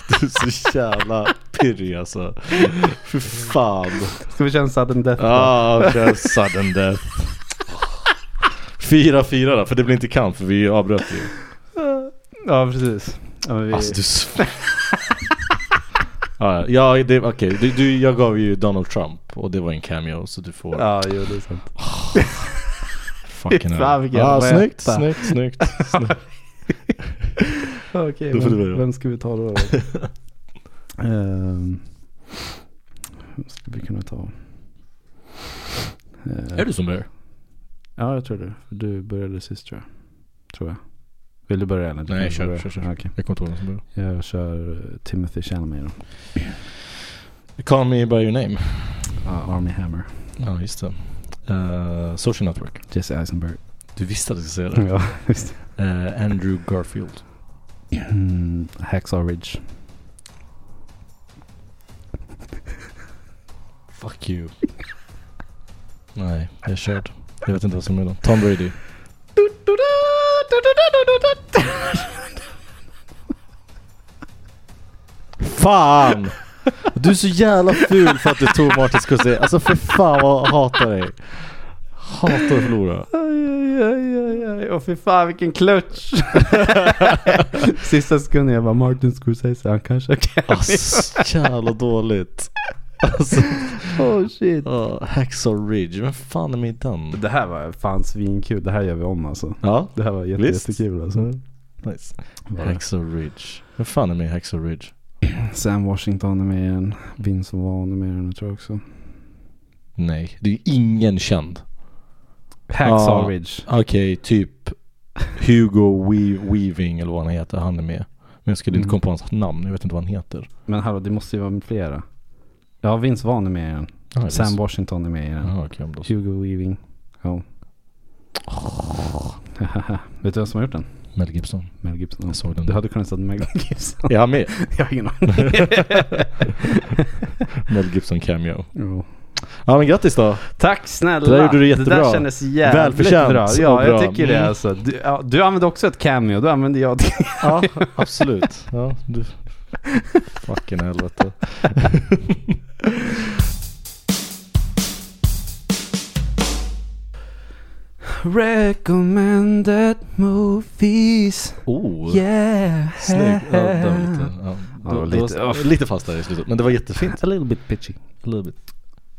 Speaker 2: Du är så jävla pirrig alltså. Fy fan.
Speaker 3: Ska vi köra en sudden death? då?
Speaker 2: Ah, kör sudden death. 4-4 då, för det blir inte kamp för vi avbröt ju.
Speaker 3: Ja, precis. Ja, men vi...
Speaker 2: Alltså du s- ah, Ja, ja, det- okej. Du, du, jag gav ju Donald Trump och det var en cameo så du får
Speaker 3: Ja, jo det är sant.
Speaker 2: fucking
Speaker 3: fan, vilken
Speaker 2: ah, snyggt,
Speaker 3: rätta.
Speaker 2: snyggt, snyggt, snyggt.
Speaker 3: Okej,
Speaker 2: Då får du
Speaker 3: vem,
Speaker 2: börja.
Speaker 3: vem ska vi ta då? Ehm, vem ska vi kunna ta? Eh,
Speaker 2: Är du som börjar?
Speaker 3: Ja, jag tror det. Du började sist tror jag. Tror jag. Vill du börja eller? Du
Speaker 2: Nej,
Speaker 3: kan
Speaker 2: kör,
Speaker 3: börja.
Speaker 2: kör, kör.
Speaker 3: Ja, okej.
Speaker 2: Jag kommer inte ihåg vem som börjar.
Speaker 3: Jag kör eh, Timothy Chalamet då.
Speaker 2: Call me by your name.
Speaker 3: Ja, Ah, Army Hammer.
Speaker 2: Ja, just det. Eh, Social Network.
Speaker 3: Jesse Eisenberg.
Speaker 2: Du visste att jag skulle säga det.
Speaker 3: ja, visst.
Speaker 2: Eh, Andrew Garfield.
Speaker 3: Mm, Hacksaw Ridge.
Speaker 2: Fuck you. Nej, jag är körd. Jag vet inte vad som är med dem. Tom Brady. Fan! Du är så jävla ful för att du tog Martin Scorsese. Alltså för fan vad jag hatar dig. Hatar att förlora.
Speaker 3: Aj, aj, aj, aj, aj. Och fy fan vilken klutch. Sista sekunden jag bara Martin Scorsese, han kanske kan.
Speaker 2: Alltså så jävla dåligt. Alltså,
Speaker 3: Oh shit.
Speaker 2: oh, Hacksaw Ridge. Vem fan är med i den?
Speaker 3: Det här var fan svinkul. Det här gör vi om alltså.
Speaker 2: Ja,
Speaker 3: Det här var jätte,
Speaker 2: Visst.
Speaker 3: jättekul alltså.
Speaker 2: nice. Hacksaw Ridge. Vem fan är med i Hacksaw Ridge?
Speaker 3: Sam Washington är med i den. Vince Vaughn är med i den tror jag också.
Speaker 2: Nej, det är ju ingen känd.
Speaker 3: Hacksaw
Speaker 2: Ja.
Speaker 3: Ridge.
Speaker 2: Okej, typ Hugo We- Weaving eller vad han heter, han är med. Men jag skulle inte
Speaker 3: Mm.
Speaker 2: komma på hans namn, jag vet inte vad han heter.
Speaker 3: Men hallå, det måste ju vara flera. Ja, Vince Vaughn är med i den.
Speaker 2: Ah, det
Speaker 3: Sam
Speaker 2: är-
Speaker 3: Washington är med i den.
Speaker 2: Jaha, okej, om då så.
Speaker 3: Hugo Weaving. Ja. Vet du vem som har gjort den?
Speaker 2: Mel Gibson.
Speaker 3: Mel Gibson.
Speaker 2: Jag såg den.
Speaker 3: Du hade kunnat säga Mel Gibson.
Speaker 2: Är han med?
Speaker 3: Jag har ingen aning.
Speaker 2: Mel Gibson cameo.
Speaker 3: Jo.
Speaker 2: Ja men grattis då.
Speaker 3: Tack snälla.
Speaker 2: Det där gjorde du jättebra.
Speaker 3: där kändes jävligt
Speaker 2: Välförtjänt
Speaker 3: bra.
Speaker 2: och
Speaker 3: Ja, jag
Speaker 2: bra.
Speaker 3: tycker det
Speaker 2: Mm.
Speaker 3: alltså. Du, ja, du använde också ett cameo, då använde jag det.
Speaker 2: Ja, absolut. Ja, du. Fucking helvete.
Speaker 3: Recommended movies.
Speaker 2: Oh.
Speaker 3: Yeah.
Speaker 2: Snygg. Ja, det var lite, ja.
Speaker 3: Ja,
Speaker 2: det var-
Speaker 3: lite-
Speaker 2: det var lite fast där i slutet. Men det var jättefint.
Speaker 3: A little bit pitchy.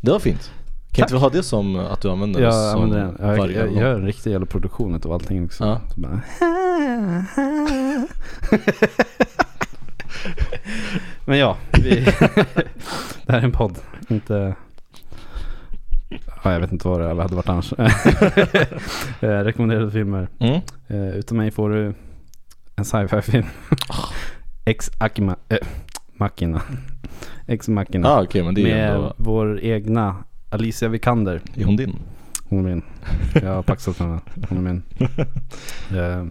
Speaker 2: Det var fint. Kan inte vi ha det som att du använder det
Speaker 3: Jag
Speaker 2: som
Speaker 3: använder den. Jag,
Speaker 2: varje
Speaker 3: jag
Speaker 2: gång?
Speaker 3: gör en riktig jävla produktion utav allting också.
Speaker 2: Ja.
Speaker 3: Så bara- Men ja, vi, det här är en podd. Inte... Ja, jag vet inte vad det hade varit annars. Eh, Rekommenderade filmer.
Speaker 2: Mm.
Speaker 3: Eh, Utan mig får du en sci-fi film. Ex Akima... Äh, Machina. Ex Machina.
Speaker 2: Ah, okej men det är ju
Speaker 3: med
Speaker 2: ändå...
Speaker 3: vår egna Alicia Vikander.
Speaker 2: Är hon din?
Speaker 3: Hon är min. Jag har paxat med henne. Hon är min. Eh,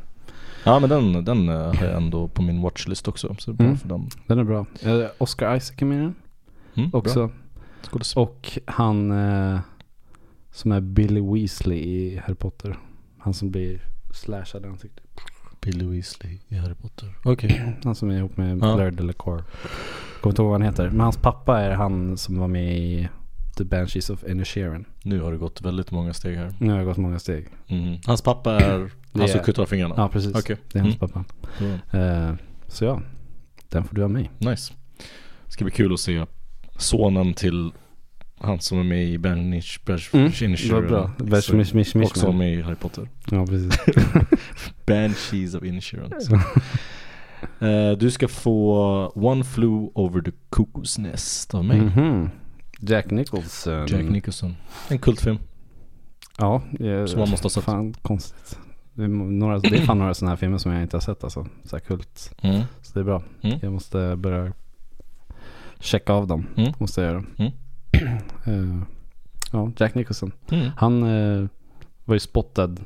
Speaker 2: Ja men den, den eh, har jag ändå på min watchlist också. Så det är bra
Speaker 3: Mm.
Speaker 2: för den.
Speaker 3: Den är bra. Eh, Oscar Isaac är med i den
Speaker 2: Mm, Bra.
Speaker 3: också.
Speaker 2: Skådis.
Speaker 3: Och han eh, som är Billy Weasley i Harry Potter. Han som blir slashade ansikte.
Speaker 2: Billy Weasley i Harry Potter. Okej.
Speaker 3: Han som är ihop med
Speaker 2: Ja.
Speaker 3: Blair Delacour. Kommer inte ihåg vad han heter. Men hans pappa är han som var med i The Banshees of Inisherin.
Speaker 2: Nu har det gått väldigt många steg här.
Speaker 3: Nu har jag gått många steg.
Speaker 2: Mm. Hans pappa är
Speaker 3: är-
Speaker 2: han som kuttar av fingrarna.
Speaker 3: Ja, precis.
Speaker 2: Okej.
Speaker 3: Det är hans
Speaker 2: Mm.
Speaker 3: pappa.
Speaker 2: Det var-
Speaker 3: Eh, så ja, den får du av mig.
Speaker 2: Nice. Ska bli kul att se sonen till han som är med i Bernish
Speaker 3: Det var bra. Vers, mish, mish, mish,
Speaker 2: Också
Speaker 3: man.
Speaker 2: med i Harry Potter.
Speaker 3: Ja, precis.
Speaker 2: Banshees of Insurance. Eh, du ska få One Flew Over the Cuckoo's Nest av mig.
Speaker 3: Mhm. Jack Nicholson.
Speaker 2: Jack Nicholson. En kultfilm.
Speaker 3: Ja, jag,
Speaker 2: Som man måste ha sett.
Speaker 3: Fan konstigt. Det är, några, det är fan några sådana här filmer som jag inte har sett alltså. Så här kult.
Speaker 2: Mm.
Speaker 3: Så det är bra.
Speaker 2: Mm.
Speaker 3: Jag måste börja checka av dem.
Speaker 2: Mm.
Speaker 3: Måste jag göra.
Speaker 2: Mm.
Speaker 3: Eh, ja, Jack Nicholson.
Speaker 2: Mm.
Speaker 3: Han eh, var ju spottad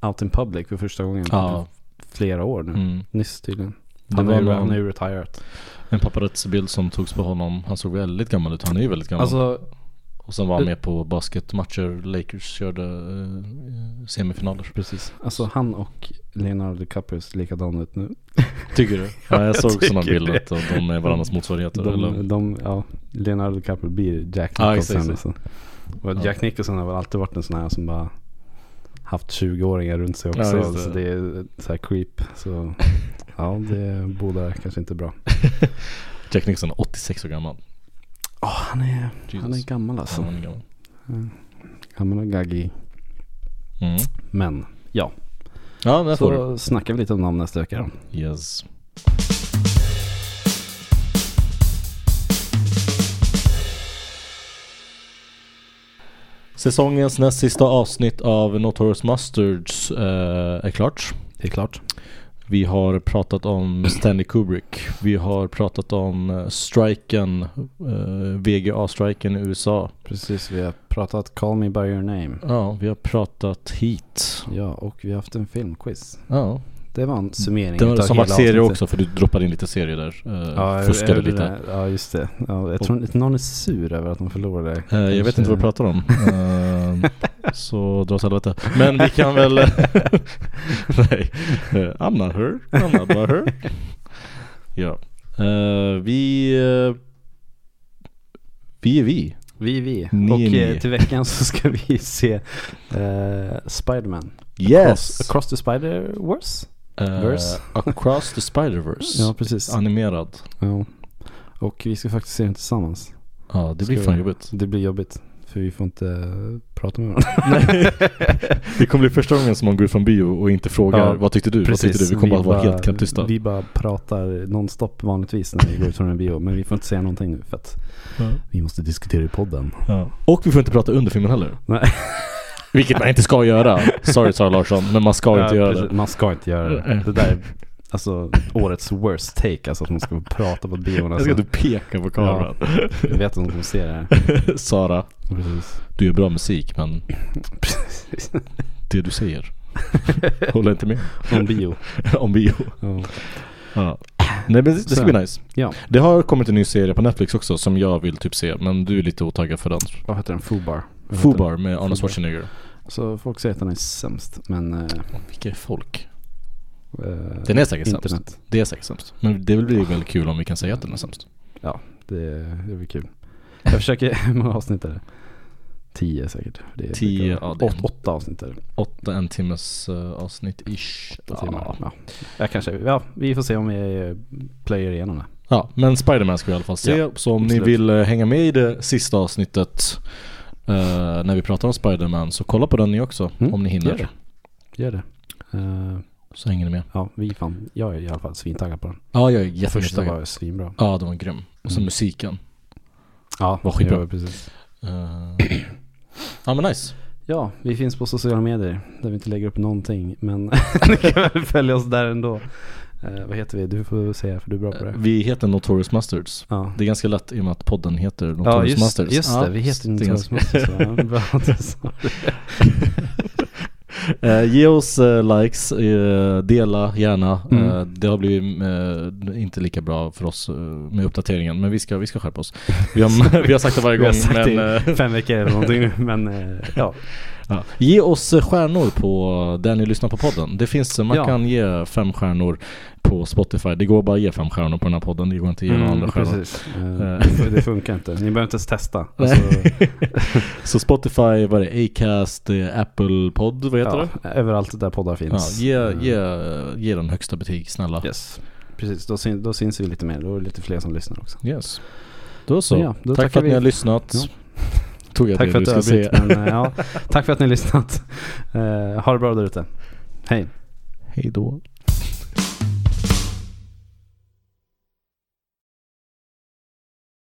Speaker 3: out in public för första gången
Speaker 2: Ja.
Speaker 3: på flera år nu.
Speaker 2: Mm.
Speaker 3: Nyss tydligen.
Speaker 2: Det
Speaker 3: Han
Speaker 2: var
Speaker 3: är ju- han
Speaker 2: någon-
Speaker 3: är ju retired.
Speaker 2: En paparazzi-bild som togs på honom. Han såg väldigt gammal ut. Han är ju väldigt gammal.
Speaker 3: Alltså,
Speaker 2: och sen var han med på basketmatcher. Lakers körde eh, semifinaler. Precis.
Speaker 3: alltså han och Leonardo DiCaprio ser likadana ut nu.
Speaker 2: Tycker du? Ja, jag
Speaker 3: jag
Speaker 2: såg sådana
Speaker 3: tycker
Speaker 2: bilder
Speaker 3: det.
Speaker 2: att de är varandras motsvarigheter. eller?
Speaker 3: De, de, ja, Leonardo DiCaprio blir Jack
Speaker 2: Ja,
Speaker 3: Nicholson.
Speaker 2: exakt,
Speaker 3: alltså. Och
Speaker 2: Ja.
Speaker 3: Jack Nicholson har väl alltid varit en sån här som bara haft 20-åringar runt sig också.
Speaker 2: Ja, just det.
Speaker 3: Så det är så här creep. Så ja, det båda kanske inte bra.
Speaker 2: Jack Nicholson är 86 år gammal.
Speaker 3: Oh, han, är,
Speaker 2: Jesus.
Speaker 3: han är gammal alltså.
Speaker 2: Ja, han är gammal.
Speaker 3: Han är gaggig.
Speaker 2: Mm.
Speaker 3: Men ja,
Speaker 2: Ja, där får du.
Speaker 3: så snackar vi lite om namn nästa vecka då.
Speaker 2: Yes. Säsongens näst sista avsnitt av Notorious Mustards eh, är klart.
Speaker 3: Det är klart.
Speaker 2: Vi har pratat om Stanley Kubrick. Vi har pratat om eh, striken, eh, VGA-striken i USA.
Speaker 3: Precis, vi har pratat Call Me By Your Name.
Speaker 2: Ja, vi har pratat Heat.
Speaker 3: Ja, och vi har haft en filmquiz.
Speaker 2: Ja,
Speaker 3: Det var en summering
Speaker 2: Mm. det var
Speaker 3: utav
Speaker 2: som
Speaker 3: hela
Speaker 2: varit serier
Speaker 3: avsnittet.
Speaker 2: också för du droppade in lite serier där. Eh,
Speaker 3: Ja, jag-
Speaker 2: fuskade
Speaker 3: jag-
Speaker 2: lite.
Speaker 3: Ja, just det. Ja, jag tror inte någon är sur över att de förlorade.
Speaker 2: Eh,
Speaker 3: Kanske-
Speaker 2: jag vet inte vad du pratar om. Eh, så dra åt helvete. Men vi kan väl... Nej. Uh, I'm not her. I'm not but her. ja. Eh, vi... eh, vi är vi.
Speaker 3: Vi är vi.
Speaker 2: Ni är
Speaker 3: och
Speaker 2: ni.
Speaker 3: eh, till veckan så ska vi se eh, Spiderman. Across,
Speaker 2: Yes!
Speaker 3: Across the Spider-Verse? Verse.
Speaker 2: Eh, across the Spider-Verse.
Speaker 3: Ja, precis.
Speaker 2: Animerad.
Speaker 3: Ja. Och vi ska faktiskt se den tillsammans.
Speaker 2: Ja, det blir
Speaker 3: Ska
Speaker 2: fan
Speaker 3: vi-
Speaker 2: jobbigt.
Speaker 3: Det blir jobbigt. För vi får inte eh, prata med varandra.
Speaker 2: Nej. det kommer bli första gången som någon går ut från bio och inte frågar
Speaker 3: Ja,
Speaker 2: vad tyckte du? Vad tyckte du? Vi kommer bara vara helt knäpptysta.
Speaker 3: Vi bara pratar nonstop vanligtvis när vi går ut från en bio. Men vi får inte säga någonting nu för att vi måste diskutera i podden.
Speaker 2: Ja. Och vi får inte prata under filmen heller.
Speaker 3: Nej.
Speaker 2: Vilket man inte ska göra. Sorry Sara Larsson, men man ska
Speaker 3: Ja,
Speaker 2: inte göra Mm.
Speaker 3: precis. Man ska inte göra det. Det där är alltså årets worst take. Alltså att man ska prata på bion.
Speaker 2: det. Jag ska typ-
Speaker 3: Alltså.
Speaker 2: inte peka på kameran.
Speaker 3: Jag vet inte om de ser det här.
Speaker 2: Sara,
Speaker 3: Precis.
Speaker 2: du gör bra musik men det du säger håller inte med
Speaker 3: Om bio.
Speaker 2: om bio.
Speaker 3: Ja.
Speaker 2: Ja. Nej men det, det ska
Speaker 3: Så.
Speaker 2: bli nice.
Speaker 3: Ja.
Speaker 2: Det har kommit en ny serie på Netflix också som jag vill typ se men du är lite otaggad för den.
Speaker 3: Vad heter den? Fubar. Vad heter
Speaker 2: Fubar med Arnold
Speaker 3: Fubar.
Speaker 2: Schwarzenegger.
Speaker 3: den? Så folk säger att den är sämst. Men... eh,
Speaker 2: Vilka är folk?
Speaker 3: eh,
Speaker 2: Den är säkert sämst.
Speaker 3: internet.
Speaker 2: Det är säkert sämst. Men det blir väl kul om vi kan säga att den är sämst.
Speaker 3: Det, det blir kul. Jag försöker, hur många avsnitt är det? Tio säkert. Det är
Speaker 2: Tio,
Speaker 3: mycket.
Speaker 2: ja, det är-
Speaker 3: Åt- Åtta avsnitt är det.
Speaker 2: Åtta en timmes eh, avsnitt ish.
Speaker 3: Åtta timmar.
Speaker 2: Ja.
Speaker 3: Ja. Jag kanske, ja, vi får se om vi eh, plöjer igenom det.
Speaker 2: ja, men Spider-Man ska vi i alla fall se.
Speaker 3: Ja,
Speaker 2: så om
Speaker 3: absolut.
Speaker 2: ni vill eh, hänga med i det sista avsnittet eh, när vi pratar om Spider-Man så kolla på den ni också
Speaker 3: Mm,
Speaker 2: om ni hinner.
Speaker 3: gör det. Gör det. Eh,
Speaker 2: Så hänger ni med.
Speaker 3: ja, vi är fan, jag är i alla fall svintaggad på den.
Speaker 2: Ja, jag är
Speaker 3: Första
Speaker 2: jättetaggad.
Speaker 3: var svinbra.
Speaker 2: Ja, den var grym. Och så
Speaker 3: Mm.
Speaker 2: musiken.
Speaker 3: Ja,
Speaker 2: Var skitbra.
Speaker 3: Ja, precis.
Speaker 2: Eh, ja men nice.
Speaker 3: ja, vi finns på sociala medier där vi inte lägger upp någonting. Men ni kan väl följa oss där ändå. Eh, vad heter vi? Du får säga för du är bra på det.
Speaker 2: Vi heter Notorious Masters.
Speaker 3: Ja.
Speaker 2: Det är ganska lätt i och med att podden heter Notorious
Speaker 3: Ja just,
Speaker 2: Masters.
Speaker 3: just det,
Speaker 2: Ja,
Speaker 3: vi heter
Speaker 2: det är ganska-
Speaker 3: Notorious Masters. va? Bra att du sa det.
Speaker 2: Eh, ge oss eh, likes, eh, dela gärna.
Speaker 3: Mm.
Speaker 2: Eh, det har blivit eh, inte lika bra för oss eh, med uppdateringen men vi ska, vi ska skärpa oss. Vi har, vi har sagt det varje
Speaker 3: Vi har
Speaker 2: gång
Speaker 3: sagt
Speaker 2: men
Speaker 3: det
Speaker 2: eh,
Speaker 3: i fem veckor eller någonting nu. Men eh, ja,
Speaker 2: Ja. Ge oss eh, stjärnor på där ni lyssnar på podden. Det finns, eh, man
Speaker 3: Ja.
Speaker 2: kan ge fem stjärnor på Spotify. Det går bara att ge fem stjärnor på den här podden. Det går inte att ge några andra stjärnor.
Speaker 3: Mm, precis. Eh, det funkar inte. Ni behöver inte ens testa. Alltså,
Speaker 2: Så Spotify, vad är det? Acast, eh, Apple Podd, vad heter det?
Speaker 3: ja, överallt där poddar
Speaker 2: Ja,
Speaker 3: finns.
Speaker 2: ge,
Speaker 3: Eh,
Speaker 2: ge, ge den högsta betyg snälla.
Speaker 3: Yes. Precis, då, syn, då syns vi lite mer. Då är det lite fler som lyssnar också.
Speaker 2: Yes. Då så.
Speaker 3: Ja, då
Speaker 2: Tack
Speaker 3: tackar
Speaker 2: för att
Speaker 3: vi.
Speaker 2: ni har lyssnat.
Speaker 3: Ja.
Speaker 2: Tog jag
Speaker 3: Tack
Speaker 2: det
Speaker 3: för
Speaker 2: du
Speaker 3: att du
Speaker 2: ska
Speaker 3: avbryter.
Speaker 2: säga.
Speaker 3: Men, eh, ja, tack för att ni har lyssnat. Eh, ha det bra där ute. Hej.
Speaker 2: Hej då.